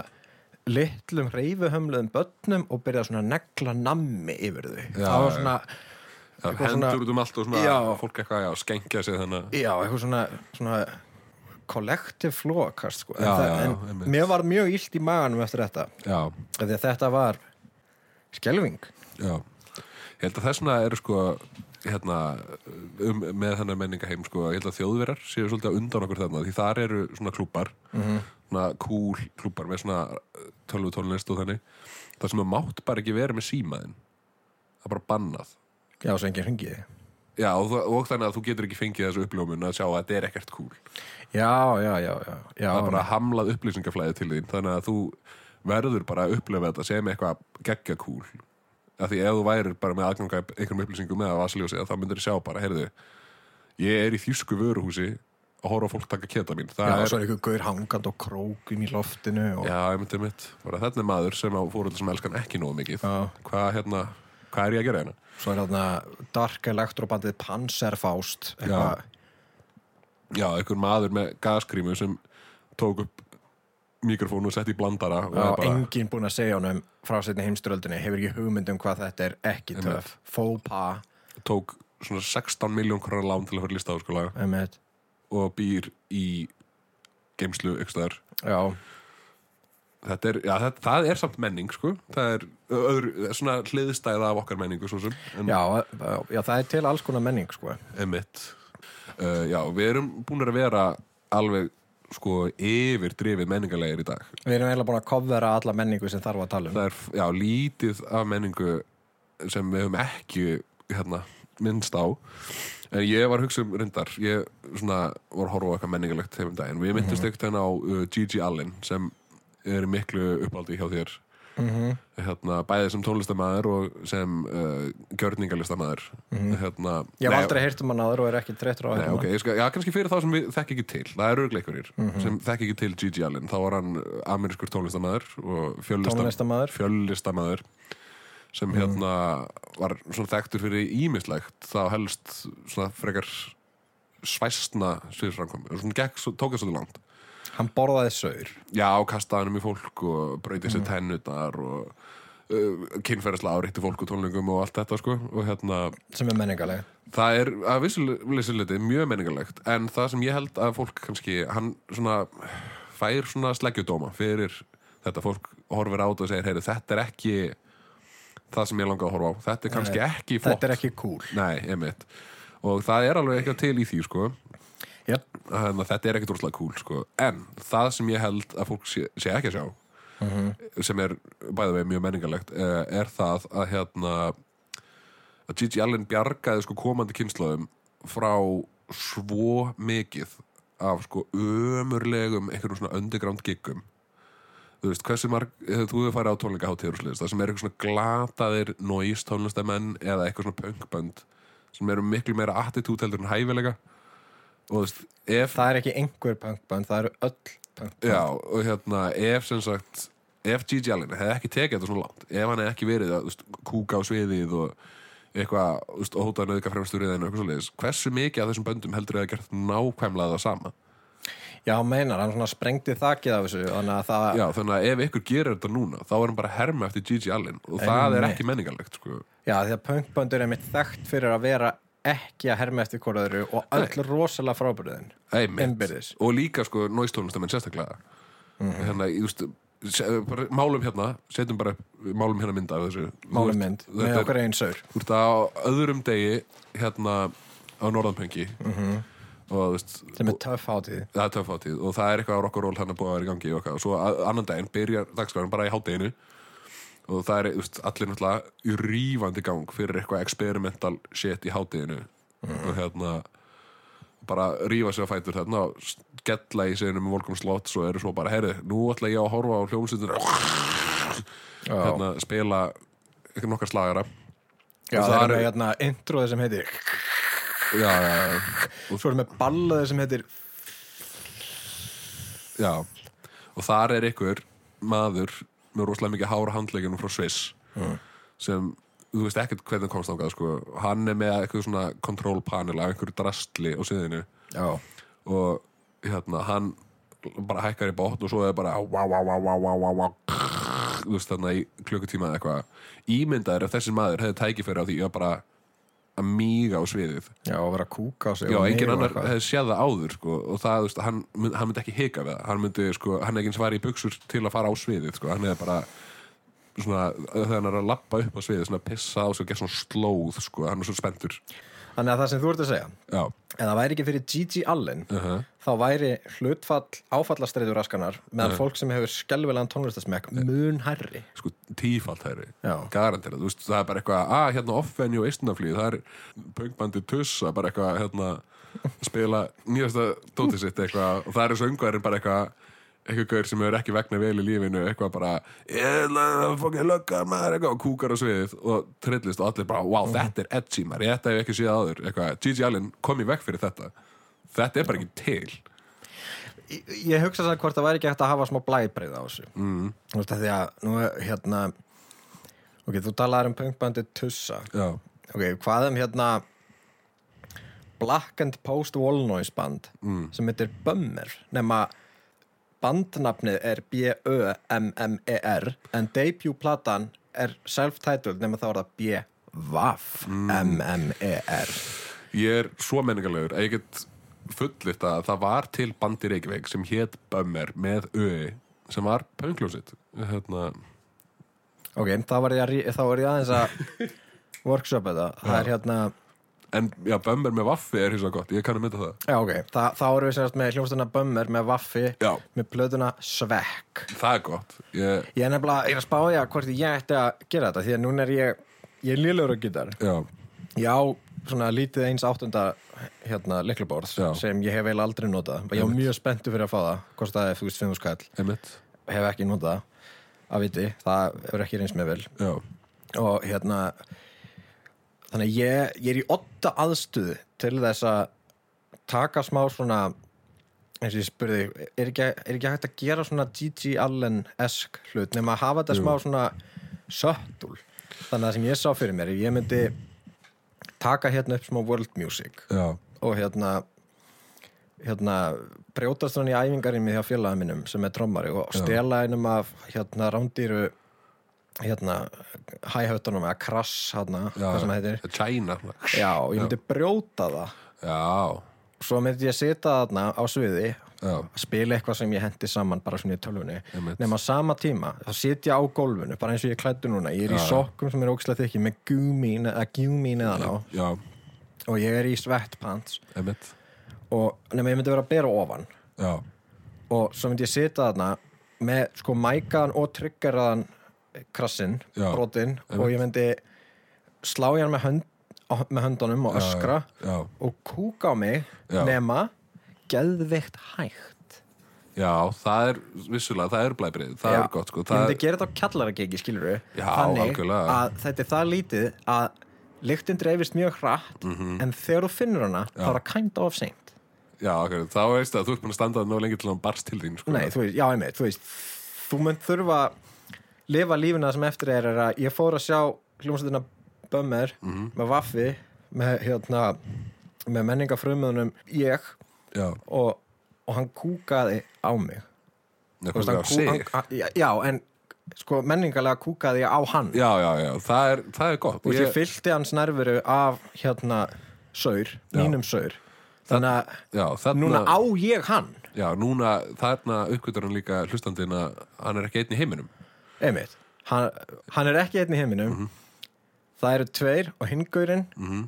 [SPEAKER 1] litlum reyfuhömluðum börnum og byrjað svona að negla nammi yfir þau
[SPEAKER 2] Já,
[SPEAKER 1] það var
[SPEAKER 2] já.
[SPEAKER 1] svona,
[SPEAKER 2] já,
[SPEAKER 1] Eitthvað
[SPEAKER 2] hendur
[SPEAKER 1] svona-
[SPEAKER 2] út um allt og svona
[SPEAKER 1] Já.
[SPEAKER 2] fólk eitthvað já, skengja sig þannig að-
[SPEAKER 1] já, eitthvað svona svona collective flókast sko. en,
[SPEAKER 2] Já,
[SPEAKER 1] það,
[SPEAKER 2] já, já,
[SPEAKER 1] en
[SPEAKER 2] einmitt.
[SPEAKER 1] mér var mjög illt í maganum eftir þetta
[SPEAKER 2] já,
[SPEAKER 1] af því að þetta var skelving
[SPEAKER 2] já ég held að þessna eru sko hérna, um, með þennan menningaheim sko, ég held að þjóðverar séu svolítið að undan okkur þarna því þar eru svona klúpar
[SPEAKER 1] Mhm.
[SPEAKER 2] svona cool klúpar með svona tölvu tónlist og þannig það sem að mátt bara ekki vera með símaðin það er bara bannað
[SPEAKER 1] já, svo enginn hringiði
[SPEAKER 2] já, og, það- og þannig að þú getur ekki fengið þessu uppljómun að sjá að þetta er ekkert cool
[SPEAKER 1] já, já, já, já, já
[SPEAKER 2] það er bara hamlað upplýsingaflæði til þín þannig að þú verður bara að upplifa þetta sem eitthvað geggja cool af því ef þú værir bara með aðganga einhverjum upplýsingum eða vasaljósi þá myndir þú sjá bara, heyrðu ég er í þjúsku vöruhúsi að horfa á fólk taka keta mín það
[SPEAKER 1] Já,
[SPEAKER 2] er,
[SPEAKER 1] svo er einhver gaur hangand og krókum í loftinu og...
[SPEAKER 2] já, ég myndi mitt bara þetta er maður sem á fóröld sem elskan ekki nógu mikið
[SPEAKER 1] Já.
[SPEAKER 2] hvað, hérna, hvað er ég að gera hérna
[SPEAKER 1] Svo er þarna Dark Electrobandið Panzerfaust eitthvað.
[SPEAKER 2] já, einhver maður með gaskrímu sem tók upp mikrofónu og sett í blandara og
[SPEAKER 1] Já,
[SPEAKER 2] er bara,
[SPEAKER 1] enginn búinn að segja honum frá sérni heimströldinni hefur ekki hugmynd um hvað þetta er ekki töf Faux pas
[SPEAKER 2] tók svona 16 miljón krónar lán til að fyrir lista áskóla
[SPEAKER 1] einmitt.
[SPEAKER 2] og býr í geimslu ykstaðar
[SPEAKER 1] Já,
[SPEAKER 2] þetta er, já, það, það er samt menning sko. það er öðru, svona hliðstæða af okkar menningu svo sem en
[SPEAKER 1] já, já, það er til alls konar menning sko.
[SPEAKER 2] emitt uh, já, við erum búin að vera alveg sko yfir drifið menningarlegir í dag
[SPEAKER 1] Við erum eiginlega búin að kofvera alla menningu sem þarf að tala um
[SPEAKER 2] það er, já, lítið af menningu sem við höfum ekki hérna, minnst á en ég var að hugsa um reyndar ég svona var að horfa á eitthvað menningalegt þeim um daginn, við myndist
[SPEAKER 1] Mhm.
[SPEAKER 2] mm einhvern veginn á uh, Gigi Allen sem er í miklu uppaldi hjá þér
[SPEAKER 1] Mhm.
[SPEAKER 2] hérna, bæðið sem tónlistamæður og sem uh, gjörningarlistamæður hérna,
[SPEAKER 1] Mhm. Ég hef
[SPEAKER 2] nei,
[SPEAKER 1] aldrei heyrt um hann áður og er ekki treyttur á
[SPEAKER 2] Nei,
[SPEAKER 1] hérna
[SPEAKER 2] ok, ég skal, já, kannski fyrir þá sem við þekki ekki til það eru örgleikurinn mm
[SPEAKER 1] Mhm.
[SPEAKER 2] -hmm. sem þekki ekki til Gigi Allen, þá var hann uh, amerískur tónlistamæður og fjöllistam,
[SPEAKER 1] Tónlistarmaður.
[SPEAKER 2] fjöllistamæður sem hérna var svona þekktur fyrir ímislegt þá helst svona frekar svæstna sviðsframkomi og svona gekk, svo- tók það svolítið langt
[SPEAKER 1] Hann borðaði saur
[SPEAKER 2] já, kastaði hann um í fólk og breytið sér tennutnar og uh, kynferðislega áreitti fólk og tónlingum og allt þetta sko og hérna
[SPEAKER 1] sem er menningaleg
[SPEAKER 2] Það er að vissuleiti mjög menningarlegt en það sem ég held að fólk kannski hann svona fær svona sleggjudóma fyrir þetta fólk horfir á þetta og segir, heyri, þetta er ekki það sem ég langa að horfa á þetta er kannski ekki flott
[SPEAKER 1] Þetta er ekki cool
[SPEAKER 2] Nei, einmitt og það er alveg eitthvað til í því sko
[SPEAKER 1] yep.
[SPEAKER 2] þannig að þetta er ekkert droslega cool sko. en það sem ég held að fólk sé, sé ekki að sjá sem er bæðið veginn mjög menningarlegt eh, er það að hérna að Gigi Allen bjargaði sko komandi kynslaðum frá svo mikið af sko ömurlegum einhverjum svona underground giggum þú veist, hversu marg eh, þú hefur farið á tónleikaháttíður og sliðist það sem eru eitthvað svona glataðir noise tónlistamenn eða eitthvað svona punkbönd sem eru miklu meira attitút heldur en hæfilega og þú veist, ef
[SPEAKER 1] Það er ekki einhver punkband, það eru öll punkband
[SPEAKER 2] Já, og hérna, ef sem sagt ef Gigi Allen hefði ekki tekið þetta svona langt ef hann hefði ekki verið að þú veist, kúka á sviðið og eitthvað, þú veist, óta nöðka fremstur eða eitthvað svoleiðis, hversu mikið af þessum böndum heldur þið að gert nákvæmlega það sama
[SPEAKER 1] Já, hann meinar, hann svona sprengdi þakið af þessu þannig að það,
[SPEAKER 2] Já, þannig að ef ykkur gerir þetta núna þá er hann bara að herma eftir Gigi Allen og það er
[SPEAKER 1] Einmitt.
[SPEAKER 2] ekki menningarlegt, sko
[SPEAKER 1] já, því að punkböndur er mitt þekkt fyrir að vera ekki að herma eftir hvort öðru og öll rosalega frábyrðin Einbyrðis.
[SPEAKER 2] Einmitt. og líka sko nóistónlistamenn sérstaklega mm
[SPEAKER 1] Mhm.
[SPEAKER 2] -hmm. hérna, ég veist se- bara- málum hérna, setjum bara upp- málum hérna mynda af þessu Þú
[SPEAKER 1] málum
[SPEAKER 2] ert-
[SPEAKER 1] mynd
[SPEAKER 2] þetta
[SPEAKER 1] með
[SPEAKER 2] er-
[SPEAKER 1] okkar einn saur
[SPEAKER 2] Þú ert á öðrum degi hérna á Norðanpengi og þú veist
[SPEAKER 1] sem er töff hátíð
[SPEAKER 2] það er töfátíð og það er eitthvað á rock'n'roll hann að búa að vera í gangi og, eitthvað. og svo a- annan daginn byrjar dagskráðan bara í hátdeginu og það er þú veist, allir náttúrulega í rífandi gang fyrir eitthvað experimental shit í hátdeginu og hérna bara rífa sér að fætur þarna og skella í seginu með volkum slott svo eru svo bara, herri, nú ætla ég að horfa á hljómsveitina
[SPEAKER 1] Já,
[SPEAKER 2] hérna, spila eitthvað nokkar slagara
[SPEAKER 1] já
[SPEAKER 2] og
[SPEAKER 1] það
[SPEAKER 2] þar
[SPEAKER 1] er með
[SPEAKER 2] er-
[SPEAKER 1] hérna introði sem heitir
[SPEAKER 2] já, já, já
[SPEAKER 1] og svo er með ballaði sem heitir
[SPEAKER 2] já, og þar er ykkur maður með rosalega mikið hára handleikinu frá Sviss sem, þú veist ekkert hvernig hann komst ákað sko. hann er með eitthvað svona kontrollpanel af einhverju drastli á síðinu
[SPEAKER 1] Já,
[SPEAKER 2] og hérna, hann bara hækkar í bótt og svo er bara wow, wow, wow, wow, wow, wow, wow, þú veist þarna í klukkutíma eða eitthvað ímyndaður ef þessi maður hefði tækifæri á því að bara að míga á sviðið
[SPEAKER 1] já, að vera að kúka á sig
[SPEAKER 2] Já,
[SPEAKER 1] og
[SPEAKER 2] engin
[SPEAKER 1] neyfa
[SPEAKER 2] annar
[SPEAKER 1] eitthvað.
[SPEAKER 2] hefði séð það áður sko, og það, þú veist, hann, mynd, hann myndi ekki hika við það hann myndi, sko, hann er ekki svar í buksur til að fara á sviðið, sko, hann er bara svona, þegar hann er að lappa upp á sviðið svona pissa á sig og gera svona slóð sko, hann er svo spendur
[SPEAKER 1] Þannig að það sem þú ert að segja
[SPEAKER 2] Já,
[SPEAKER 1] en það væri ekki fyrir Gigi Allen þá væri hlutfall áfallastreitur raskanar meðan fólk sem hefur skelvilegan tónlistasmekk mun herri
[SPEAKER 2] sko, tífalt hæri
[SPEAKER 1] Já.
[SPEAKER 2] garantir, þú veist, það er bara eitthvað að, hérna, off-venue og eistnaflýð, það er pöngbandi tussa, bara eitthvað, hérna spila nýjasta dótið sitt eitthvað, og það er söngvarinn bara eitthvað eitthvað gaur sem hefur ekki vegna vel í lífinu eitthvað bara, ég ætla að fókja löggar maður, eitthvað, og kúkar á sviðið og trillist og allir bara, wow, þetta er edgy maður, ég þetta hef ég ekki séð áður, eitthvað Gigi Allen kom í veg fyrir þetta, þetta er bara ekki til
[SPEAKER 1] Ég- Ég hugsa sér hvort það væri ekki hægt að hafa smá blæbreið á þessu mm. Þú veist að því að nú er, hérna ok, þú talaðir um punkbandi Tussa
[SPEAKER 2] Já,
[SPEAKER 1] ok, hvað um hérna Black and Post Wall Noise band mm. sem heitir Bummer nema bandnafnið er B-Ö-M-M-E-R E en debutplatan er self-titled nema þá er það B-V-M-M-E-R
[SPEAKER 2] ég er svo menningarlegur að ég get fullitt að það var til band í Reykjavík sem hétt Bömmer með Öi sem var pöngljósitt hérna,
[SPEAKER 1] ok, þá var ég, að rí- þá var ég aðeins að workshop þetta, það er hérna
[SPEAKER 2] en já, Bömmer með Vaffi er hins og gott, ég kannu mynda það
[SPEAKER 1] já ok, Þa, þá erum við sérst með hljómsdana Bummer með Vaffi,
[SPEAKER 2] Já.
[SPEAKER 1] með plöðuna Svekk
[SPEAKER 2] það er gott, ég,
[SPEAKER 1] Ég er nefnilega, ég er að spá ég að hvort ég ætti að gera þetta því að núna er ég, ég er lélögur að gitar
[SPEAKER 2] já,
[SPEAKER 1] ég á svona lítið eins áttunda hérna liklubórð
[SPEAKER 2] Já.
[SPEAKER 1] sem ég hef eiginlega aldrei notað og ég var mjög spenntu fyrir að fá það hvort það er þú veist fimm skall,
[SPEAKER 2] einmitt
[SPEAKER 1] hef ekki notað það, að viti, það hefur ekki reyns með vel
[SPEAKER 2] já,
[SPEAKER 1] og hérna þannig að ég, ég er í otta aðstuð til þess að taka smá svona eins og ég spurði, er ekki, er ekki hægt að gera svona G.G. Allen-esk hlut nema að hafa þetta smá svona söttul, þannig að það sem ég sá fyrir mér ég myndi taka hérna upp smá world music
[SPEAKER 2] já,
[SPEAKER 1] og hérna hérna brjótast hann í æfingarinni hjá félagum minnum sem er trommari og stela einum af hérna rándýru hérna hæhautunum eða krass hérna,
[SPEAKER 2] já
[SPEAKER 1] hvað sem það heitir
[SPEAKER 2] China
[SPEAKER 1] já, og ég myndi brjóta það
[SPEAKER 2] já,
[SPEAKER 1] svo myndi ég sita þarna á sviði
[SPEAKER 2] já,
[SPEAKER 1] spila eitthvað sem ég hendi saman bara svona í tölvunni
[SPEAKER 2] Einmitt.
[SPEAKER 1] nema á sama tíma, þá sit ég á gólfinu bara eins og ég klættu núna, ég er í
[SPEAKER 2] Já.
[SPEAKER 1] sokkum sem er ógislega þykki með gúmín eða gjúmín eða ná
[SPEAKER 2] já,
[SPEAKER 1] og ég er í svettpants
[SPEAKER 2] einmitt
[SPEAKER 1] og nema ég myndi vera að bera ofan
[SPEAKER 2] já,
[SPEAKER 1] og svo myndi ég sita þarna með sko mækaðan og tryggaraðan krassinn,
[SPEAKER 2] Já,
[SPEAKER 1] brotinn og ég myndi slá ég hann með, hönd, á- með höndunum og öskra
[SPEAKER 2] já,
[SPEAKER 1] og kúka á mig
[SPEAKER 2] Já.
[SPEAKER 1] nema geðveikt hægt
[SPEAKER 2] já, það er vissulega, það er blæbrið, það
[SPEAKER 1] Já.
[SPEAKER 2] er gott sko,
[SPEAKER 1] ég
[SPEAKER 2] það
[SPEAKER 1] myndi gera þetta á kjallaragegi skilur við
[SPEAKER 2] Já,
[SPEAKER 1] þannig
[SPEAKER 2] algjörlega.
[SPEAKER 1] að þetta er það lítið að lyktin dreifist mjög hratt
[SPEAKER 2] Mhm.
[SPEAKER 1] en þegar þú finnur hana þá er það kænda of seint
[SPEAKER 2] já, okay, þá veist að þú ert búin að standa ná lengi til hann barst til þín sko.
[SPEAKER 1] Nei, þú veist, já, einmitt, þú veist þú mynd þurfa að lifa lífina sem eftir er, er að ég fór að sjá hljómsveitina Bömmer með Vaffi með, hérna, með menningafrömmunum ég
[SPEAKER 2] já,
[SPEAKER 1] og, og hann kúkaði á mig
[SPEAKER 2] Nei,
[SPEAKER 1] Þú veist,
[SPEAKER 2] hún
[SPEAKER 1] hann
[SPEAKER 2] gaf
[SPEAKER 1] kú-
[SPEAKER 2] sig.
[SPEAKER 1] hann- hann, já, já, en sko menningalega kúkaði ég á hann
[SPEAKER 2] Já, já, já, það er, það er gott
[SPEAKER 1] og ég,
[SPEAKER 2] ég,
[SPEAKER 1] fyllti hans nervuru af hérna saur, mínum saur þannig að
[SPEAKER 2] já, þarna,
[SPEAKER 1] núna á ég hann
[SPEAKER 2] Já, núna, þarna uppgötur hann líka hlustandinn að hann er ekki einn í heiminum
[SPEAKER 1] einmitt, hann, hann er ekki einn í heiminum
[SPEAKER 2] Mhm.
[SPEAKER 1] það eru tveir og hingurinn mm -hmm.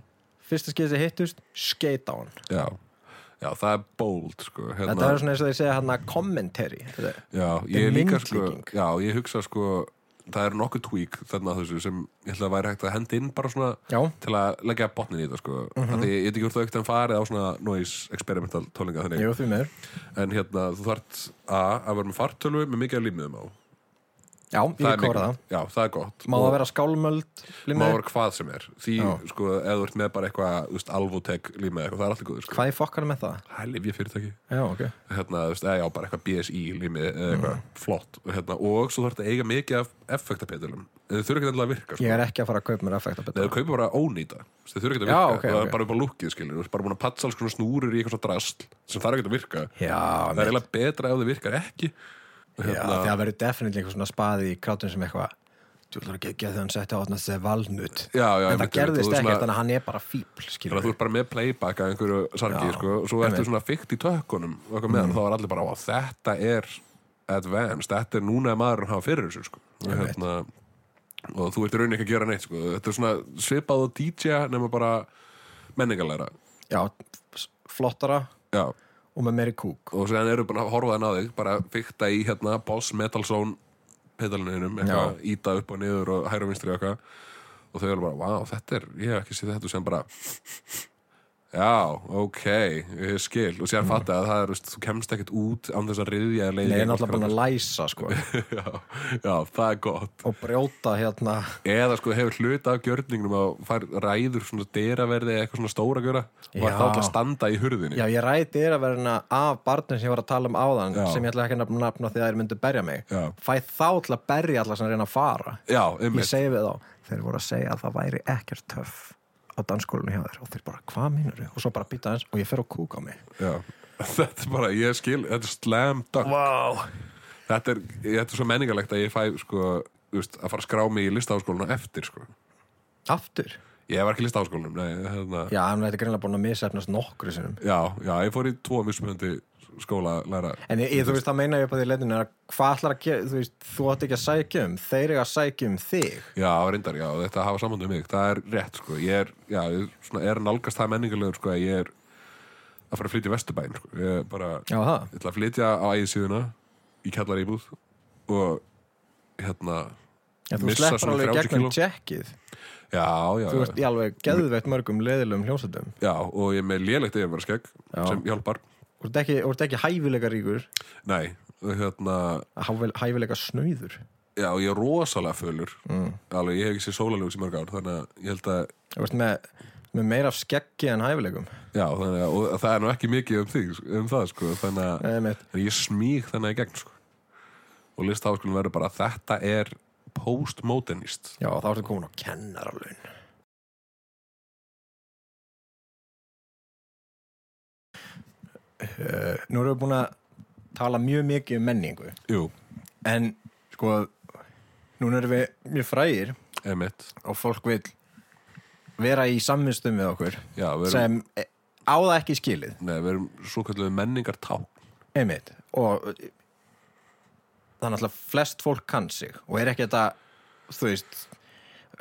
[SPEAKER 1] fyrsta skeiði hittust, skeit á hann
[SPEAKER 2] Já, já það er bold sko, hérna,
[SPEAKER 1] þetta er svona eins og þeir segja hann að kommentari þetta-
[SPEAKER 2] Já,
[SPEAKER 1] er
[SPEAKER 2] ég líka sko
[SPEAKER 1] myndlíking.
[SPEAKER 2] Já, ég hugsa sko Það er nokkuð tweak þarna að þessu sem ég held að væri hægt að henda inn bara svona
[SPEAKER 1] Já.
[SPEAKER 2] til að leggja botnin í þetta sko mm
[SPEAKER 1] Mhm.
[SPEAKER 2] -hmm. Því ég veit ekki hvort það ekkert en farið á svona noise experimental tólinga þannig
[SPEAKER 1] jú því meður
[SPEAKER 2] En hérna, þú þart a, að vera með fartölu með mikið af límiðum á
[SPEAKER 1] Já, ég
[SPEAKER 2] er
[SPEAKER 1] vil kóra
[SPEAKER 2] mikil-
[SPEAKER 1] það
[SPEAKER 2] Já, það er gott
[SPEAKER 1] Má það vera skálmöld
[SPEAKER 2] Má
[SPEAKER 1] limmiður?
[SPEAKER 2] vera hvað sem er Því,
[SPEAKER 1] Já.
[SPEAKER 2] sko, ef þú ert með bara eitthvað þú veist, Alvotek límið eitthvað, það er alltaf góður sko.
[SPEAKER 1] Hvað er fokkar með það?
[SPEAKER 2] Það er lifja fyrirtæki
[SPEAKER 1] Já, ok
[SPEAKER 2] hérna, þú veist, eða já, bara eitthvað BSI límið
[SPEAKER 1] Mhm.
[SPEAKER 2] eða eitthvað flott hérna, og svo þarf þetta að eiga mikið af effektapetilum þau þurfa ekki endilega að virka sko.
[SPEAKER 1] Ég er ekki að fara að kaupa mér effektabit
[SPEAKER 2] Nei, þau kaupa bara ónýta Þú veist, þau þurfa ekki að
[SPEAKER 1] Já,
[SPEAKER 2] virka,
[SPEAKER 1] ok,
[SPEAKER 2] það
[SPEAKER 1] ok.
[SPEAKER 2] er bara upp á lukkið skilur, þú veist, bara búin að patsa alls konar snúrur í eitthvað svona drasl sem þarf ekki að virka
[SPEAKER 1] Já,
[SPEAKER 2] það er eiginlega betra ef þau virkar ekki Hérna-
[SPEAKER 1] Já, því það verður definitely eitthvað svona spaði í krátum sem eitthvað Þú ætlar að gegja þegar hann setti á hann að segja valnut
[SPEAKER 2] Já, já,
[SPEAKER 1] En það
[SPEAKER 2] einmitt,
[SPEAKER 1] gerðist
[SPEAKER 2] þú veist,
[SPEAKER 1] ekkert,
[SPEAKER 2] svona-
[SPEAKER 1] þannig að hann er bara fíbl,
[SPEAKER 2] Þannig
[SPEAKER 1] skilur
[SPEAKER 2] að þú ert bara með playback af einhverju sargi,
[SPEAKER 1] Já,
[SPEAKER 2] sko, og svo ertu svona fykt í tökkunum og eitthvað meðan, mm. þá er allir bara, á, þetta er advanced, þetta er núna að maður hafa fyrir þessu, sko. Og
[SPEAKER 1] Einmitt.
[SPEAKER 2] Hérna, og þú ert í rauninni ekki að gera neitt, sko. Þetta er svona svipað og DJ nema bara menningarleira.
[SPEAKER 1] Já, s- flottara
[SPEAKER 2] Já,
[SPEAKER 1] og með meiri kúk
[SPEAKER 2] og séðan eru bara að horfa þann á þig, bara fykta í hérna Boss Metal Zone pedalinninum, eitthvað, íta upp og niður og hæra og vinstri og eitthvað. Og þau eru bara, vá, þetta er, ég hef ekki séð þetta sem bara, Já, ok, ég skil og sér fatta að það er, veist, þú kemst ekkert út án þess að riðja leið
[SPEAKER 1] Nei, ég er náttúrulega búin að læsa, sko
[SPEAKER 2] já, já, það er gott
[SPEAKER 1] Og brjóta hérna
[SPEAKER 2] Eða sko hefur hluta af gjörningnum að fær ræður svona dyraverði eða eitthvað svona stóra gjöra og
[SPEAKER 1] Já.
[SPEAKER 2] er það að standa í hurðinni
[SPEAKER 1] Já, ég ræti er að verðina af barnum sem ég var að tala um áðan
[SPEAKER 2] Já.
[SPEAKER 1] sem ég ætla ekki að nafna nafna því að þeir myndu berja mig
[SPEAKER 2] Já.
[SPEAKER 1] Fæ þá til að berja allar sem reyna að fara
[SPEAKER 2] Já,
[SPEAKER 1] Ég
[SPEAKER 2] einmitt
[SPEAKER 1] segi við þá, þeir voru að segja að það væri ekkert töff á danskólinu hjá þér og þeir bara, hvað mínur þau? Og svo bara býta eins og ég fer að kúka á mig
[SPEAKER 2] já. Þetta er bara, ég skil, þetta er slam dunk
[SPEAKER 1] Vá
[SPEAKER 2] þetta, er, þetta er svo menningarlegt að ég fæ sko, þú veist, að fara að skrá mig í listaháskólinu eftir sko.
[SPEAKER 1] Aftur?
[SPEAKER 2] Ég var ekki í listaháskólinum, nei, hérna
[SPEAKER 1] Já, en þetta er greinlega búin að misefnast nokkru sinnum
[SPEAKER 2] Já, já, ég fór í tvo mismunandi skóla læra
[SPEAKER 1] En ég, ég, þú veist, það meina ég upp að því leitinu er að hvað ætlar að gera, þú veist, þú átt ekki að sækja um þeir eru að sækja um þig
[SPEAKER 2] Já, reyndar, já, þetta hafa sambandi um mig það er rétt, sko, ég er, já, ég svona, er nálgast það menningulegur, sko, að ég er að fara að flytja í Vesturbæn, sko ég er bara,
[SPEAKER 1] Já, það?
[SPEAKER 2] ég ætla að flytja á ægisíðuna í kallar íbúð og hérna
[SPEAKER 1] Já, þú
[SPEAKER 2] missa
[SPEAKER 1] sleppur
[SPEAKER 2] svona
[SPEAKER 1] alveg
[SPEAKER 2] 30
[SPEAKER 1] gegnum
[SPEAKER 2] kíló.
[SPEAKER 1] tjekkið
[SPEAKER 2] Já,
[SPEAKER 1] Þú
[SPEAKER 2] já, já,
[SPEAKER 1] veist, í alveg geðveitt mörgum leðilegum hljómsætum
[SPEAKER 2] já, og ég er með lélegt yfirverðskegg
[SPEAKER 1] Já.
[SPEAKER 2] sem hjálpar,
[SPEAKER 1] Þú ert ekki, þú ert ekki hæfilega ríkur
[SPEAKER 2] nei, og hérna
[SPEAKER 1] hæfilega, hæfilega snauður Mm.
[SPEAKER 2] já, ég er rosalega fölur alveg, ég hef ekki séð sólaljóðs í mörg ár þannig að ég held að,
[SPEAKER 1] Þú veist, með, með meira af skeggi en hæfilegum
[SPEAKER 2] já, þannig að og það er nú ekki mikið um þig, um það, sko, þannig að
[SPEAKER 1] Nei, mitt
[SPEAKER 2] Þannig að ég smíg þannig í gegn sko. og listaháskólinn verður bara þetta er postmodernist
[SPEAKER 1] Já, þá ertu komin á kennaralaun uh, Nú erum við búin að tala mjög mikið um menningu
[SPEAKER 2] Jú,
[SPEAKER 1] en sko núna erum við mjög frægir
[SPEAKER 2] emitt
[SPEAKER 1] og fólk vil vera í samvistum við okkur
[SPEAKER 2] Já, við erum,
[SPEAKER 1] sem eh, á það ekki skilið
[SPEAKER 2] nei, við erum svo kalluðu menningartá
[SPEAKER 1] einmitt og eh, það er náttúrulega flest fólk kann sig og er ekki þetta þú veist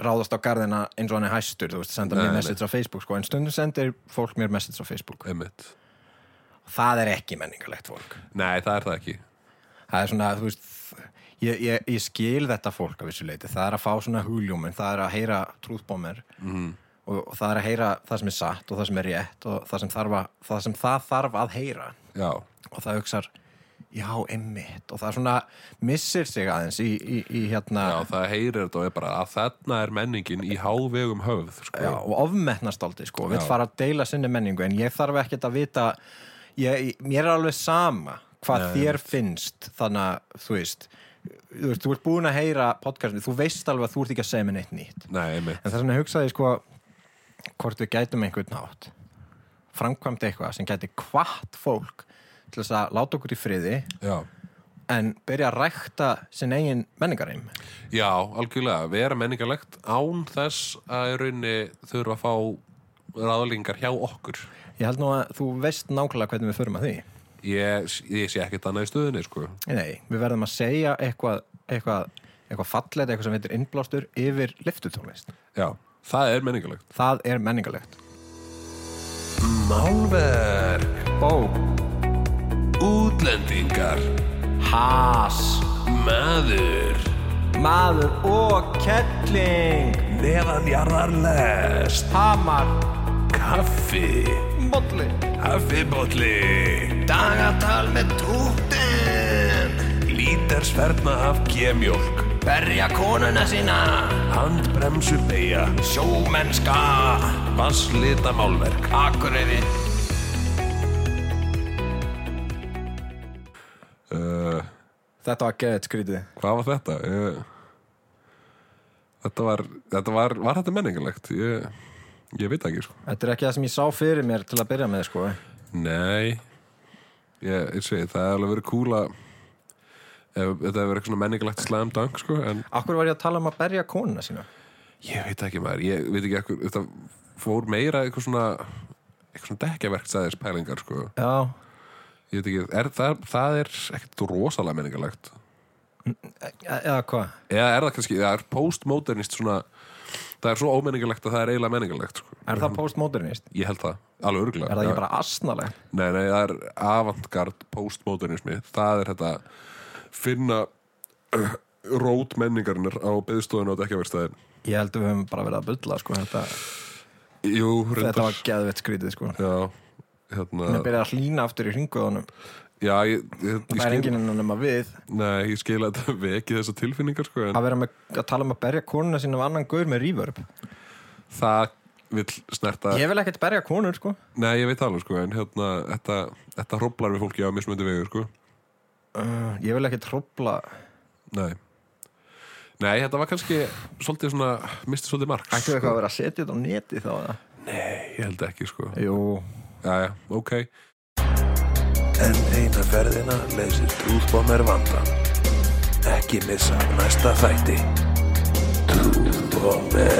[SPEAKER 1] ráðast á garðina eins og hann er hæstur þú veist, senda
[SPEAKER 2] Nei,
[SPEAKER 1] mér
[SPEAKER 2] nei.
[SPEAKER 1] message á Facebook sko, en stundum sendir fólk mér message á Facebook
[SPEAKER 2] emitt
[SPEAKER 1] það er ekki menningalegt fólk
[SPEAKER 2] Nei, það er það ekki
[SPEAKER 1] það er svona, þú veist ég, ég, ég skil þetta fólk af þessu leiti það er að fá svona hugljómin, það er að heyra trúðbómir mm. og, og það er að heyra það sem er satt og það sem er rétt og það sem, þarf að, það, sem það þarf að heyra
[SPEAKER 2] Já,
[SPEAKER 1] og það hugsar já, einmitt, og það er svona missir sig aðeins í, í, í hérna
[SPEAKER 2] já það heyrir þetta og er bara að þarna er menningin í hávegum höfð sko.
[SPEAKER 1] já, og ofmetnast aldrei sko, og vill
[SPEAKER 2] Já.
[SPEAKER 1] fara að deila sinni menningu en ég þarf ekkert að vita ég, mér er alveg sama hvað þér finnst þannig að þú veist þú, veist, þú ert búin að heyra podcastinu þú veist alveg að þú ert ekki að segja mér neitt nýtt
[SPEAKER 2] Nei, emitt
[SPEAKER 1] en þess vegna hugsaði ég, sko hvort við gætum einhvern nátt framkvæmt eitthvað sem gæti hvart fólk til þess að láta okkur í friði
[SPEAKER 2] Já,
[SPEAKER 1] en byrja að rækta sinn eigin menningarheim
[SPEAKER 2] já algjörlega, vera menningarlegt án þess að í rauninni þurfa að fá ráðlingar hjá okkur
[SPEAKER 1] ég held nú að þú veist nákvæmlega hvernig við förum að því
[SPEAKER 2] Ég, ég sé ekkert annað í stöðinni sko.
[SPEAKER 1] Nei, við verðum að segja eitthvað, eitthvað, eitthvað fallet, eitthvað sem heitir innblástur yfir lyftutónlist.
[SPEAKER 2] Já, það er menningarlegt
[SPEAKER 1] Það er menningalegt.
[SPEAKER 2] Málverk
[SPEAKER 1] Bók,
[SPEAKER 2] Útlendingar
[SPEAKER 1] has,
[SPEAKER 2] Maður
[SPEAKER 1] maður og kettling,
[SPEAKER 2] Neðanjarðarlest
[SPEAKER 1] hamar,
[SPEAKER 2] Kaffi
[SPEAKER 1] bolli,
[SPEAKER 2] Kaffibolli
[SPEAKER 1] dagatal með tútin,
[SPEAKER 2] Lítersverna af gemjólk
[SPEAKER 3] Berja konuna sína
[SPEAKER 2] Handbremsur beigja
[SPEAKER 3] Sjómennska
[SPEAKER 2] Vasslita málverk
[SPEAKER 3] Akureyri
[SPEAKER 2] uh,
[SPEAKER 1] Þetta var geðið skrítið
[SPEAKER 2] Hvað var þetta? Ég... Þetta var, þetta var, var þetta menningalegt? Ég, ég veit það ekki, sko.
[SPEAKER 1] Þetta er ekki það sem ég sá fyrir mér til að byrja með sko.
[SPEAKER 2] Nei, ég, ég segi, það er alveg verið kúla ef þetta hefur verið eitthvað svona menningalegt slam dunk, sko, en
[SPEAKER 1] Akkur var ég að tala um að berja konuna sína
[SPEAKER 2] ég veit ekki maður, ég veit ekki ekkur, þetta fór meira eitthvað svona eitthvað svona dekkjaverkstæðis pælingar, sko.
[SPEAKER 1] Já,
[SPEAKER 2] Ég veit ekki, er, það, það er ekkert rosalega menningalegt.
[SPEAKER 1] e- eða hvað
[SPEAKER 2] Eða er það kannski, það er postmodernist svona, það er svo ómenningalegt að það er eiginlega menningalegt, sko.
[SPEAKER 1] Er það postmodernist?
[SPEAKER 2] Ég held það, alveg örgulega.
[SPEAKER 1] Er það ekki bara asnaleg?
[SPEAKER 2] Nei, nei, það er avantgard postmodernismi, það er þetta finna uh, rót menningarnir á byggstofinu á dekkjaverstæðin
[SPEAKER 1] Ég held að við höfum bara verið að bulla sko. þetta,
[SPEAKER 2] Jú,
[SPEAKER 1] þetta
[SPEAKER 2] reyndar
[SPEAKER 1] var geðveitt skrítið sko.
[SPEAKER 2] Já,
[SPEAKER 1] Mér
[SPEAKER 2] hérna
[SPEAKER 1] byrjaði að hlýna aftur í hringuðunum
[SPEAKER 2] Já, ég, ég, ég,
[SPEAKER 1] Það er
[SPEAKER 2] skil,
[SPEAKER 1] enginn ennum nema við
[SPEAKER 2] nei, ég skil að þetta veki þessa tilfinningar sko, en
[SPEAKER 1] að vera með, að tala um að berja konuna sína af annan gaur með reverb
[SPEAKER 2] það vill snerta
[SPEAKER 1] Ég vil ekkert berja konur sko
[SPEAKER 2] Nei, ég veit það alveg sko, en hérna þetta, þetta hróplar við fólki á mismöndi vegu sko
[SPEAKER 1] uh, Ég vil ekkert hrópla
[SPEAKER 2] Nei Nei, þetta var kannski svolítið svona, misti svolítið marks
[SPEAKER 1] Ættu við eitthvað að vera að setja þetta á neti þá eða?
[SPEAKER 2] Nei, ég held ekki sko
[SPEAKER 1] Jú,
[SPEAKER 2] Jæja, ok
[SPEAKER 4] En eina ferðina leysir trúðbomber vandan. Ekki missa næsta þætti. Trúðbomber.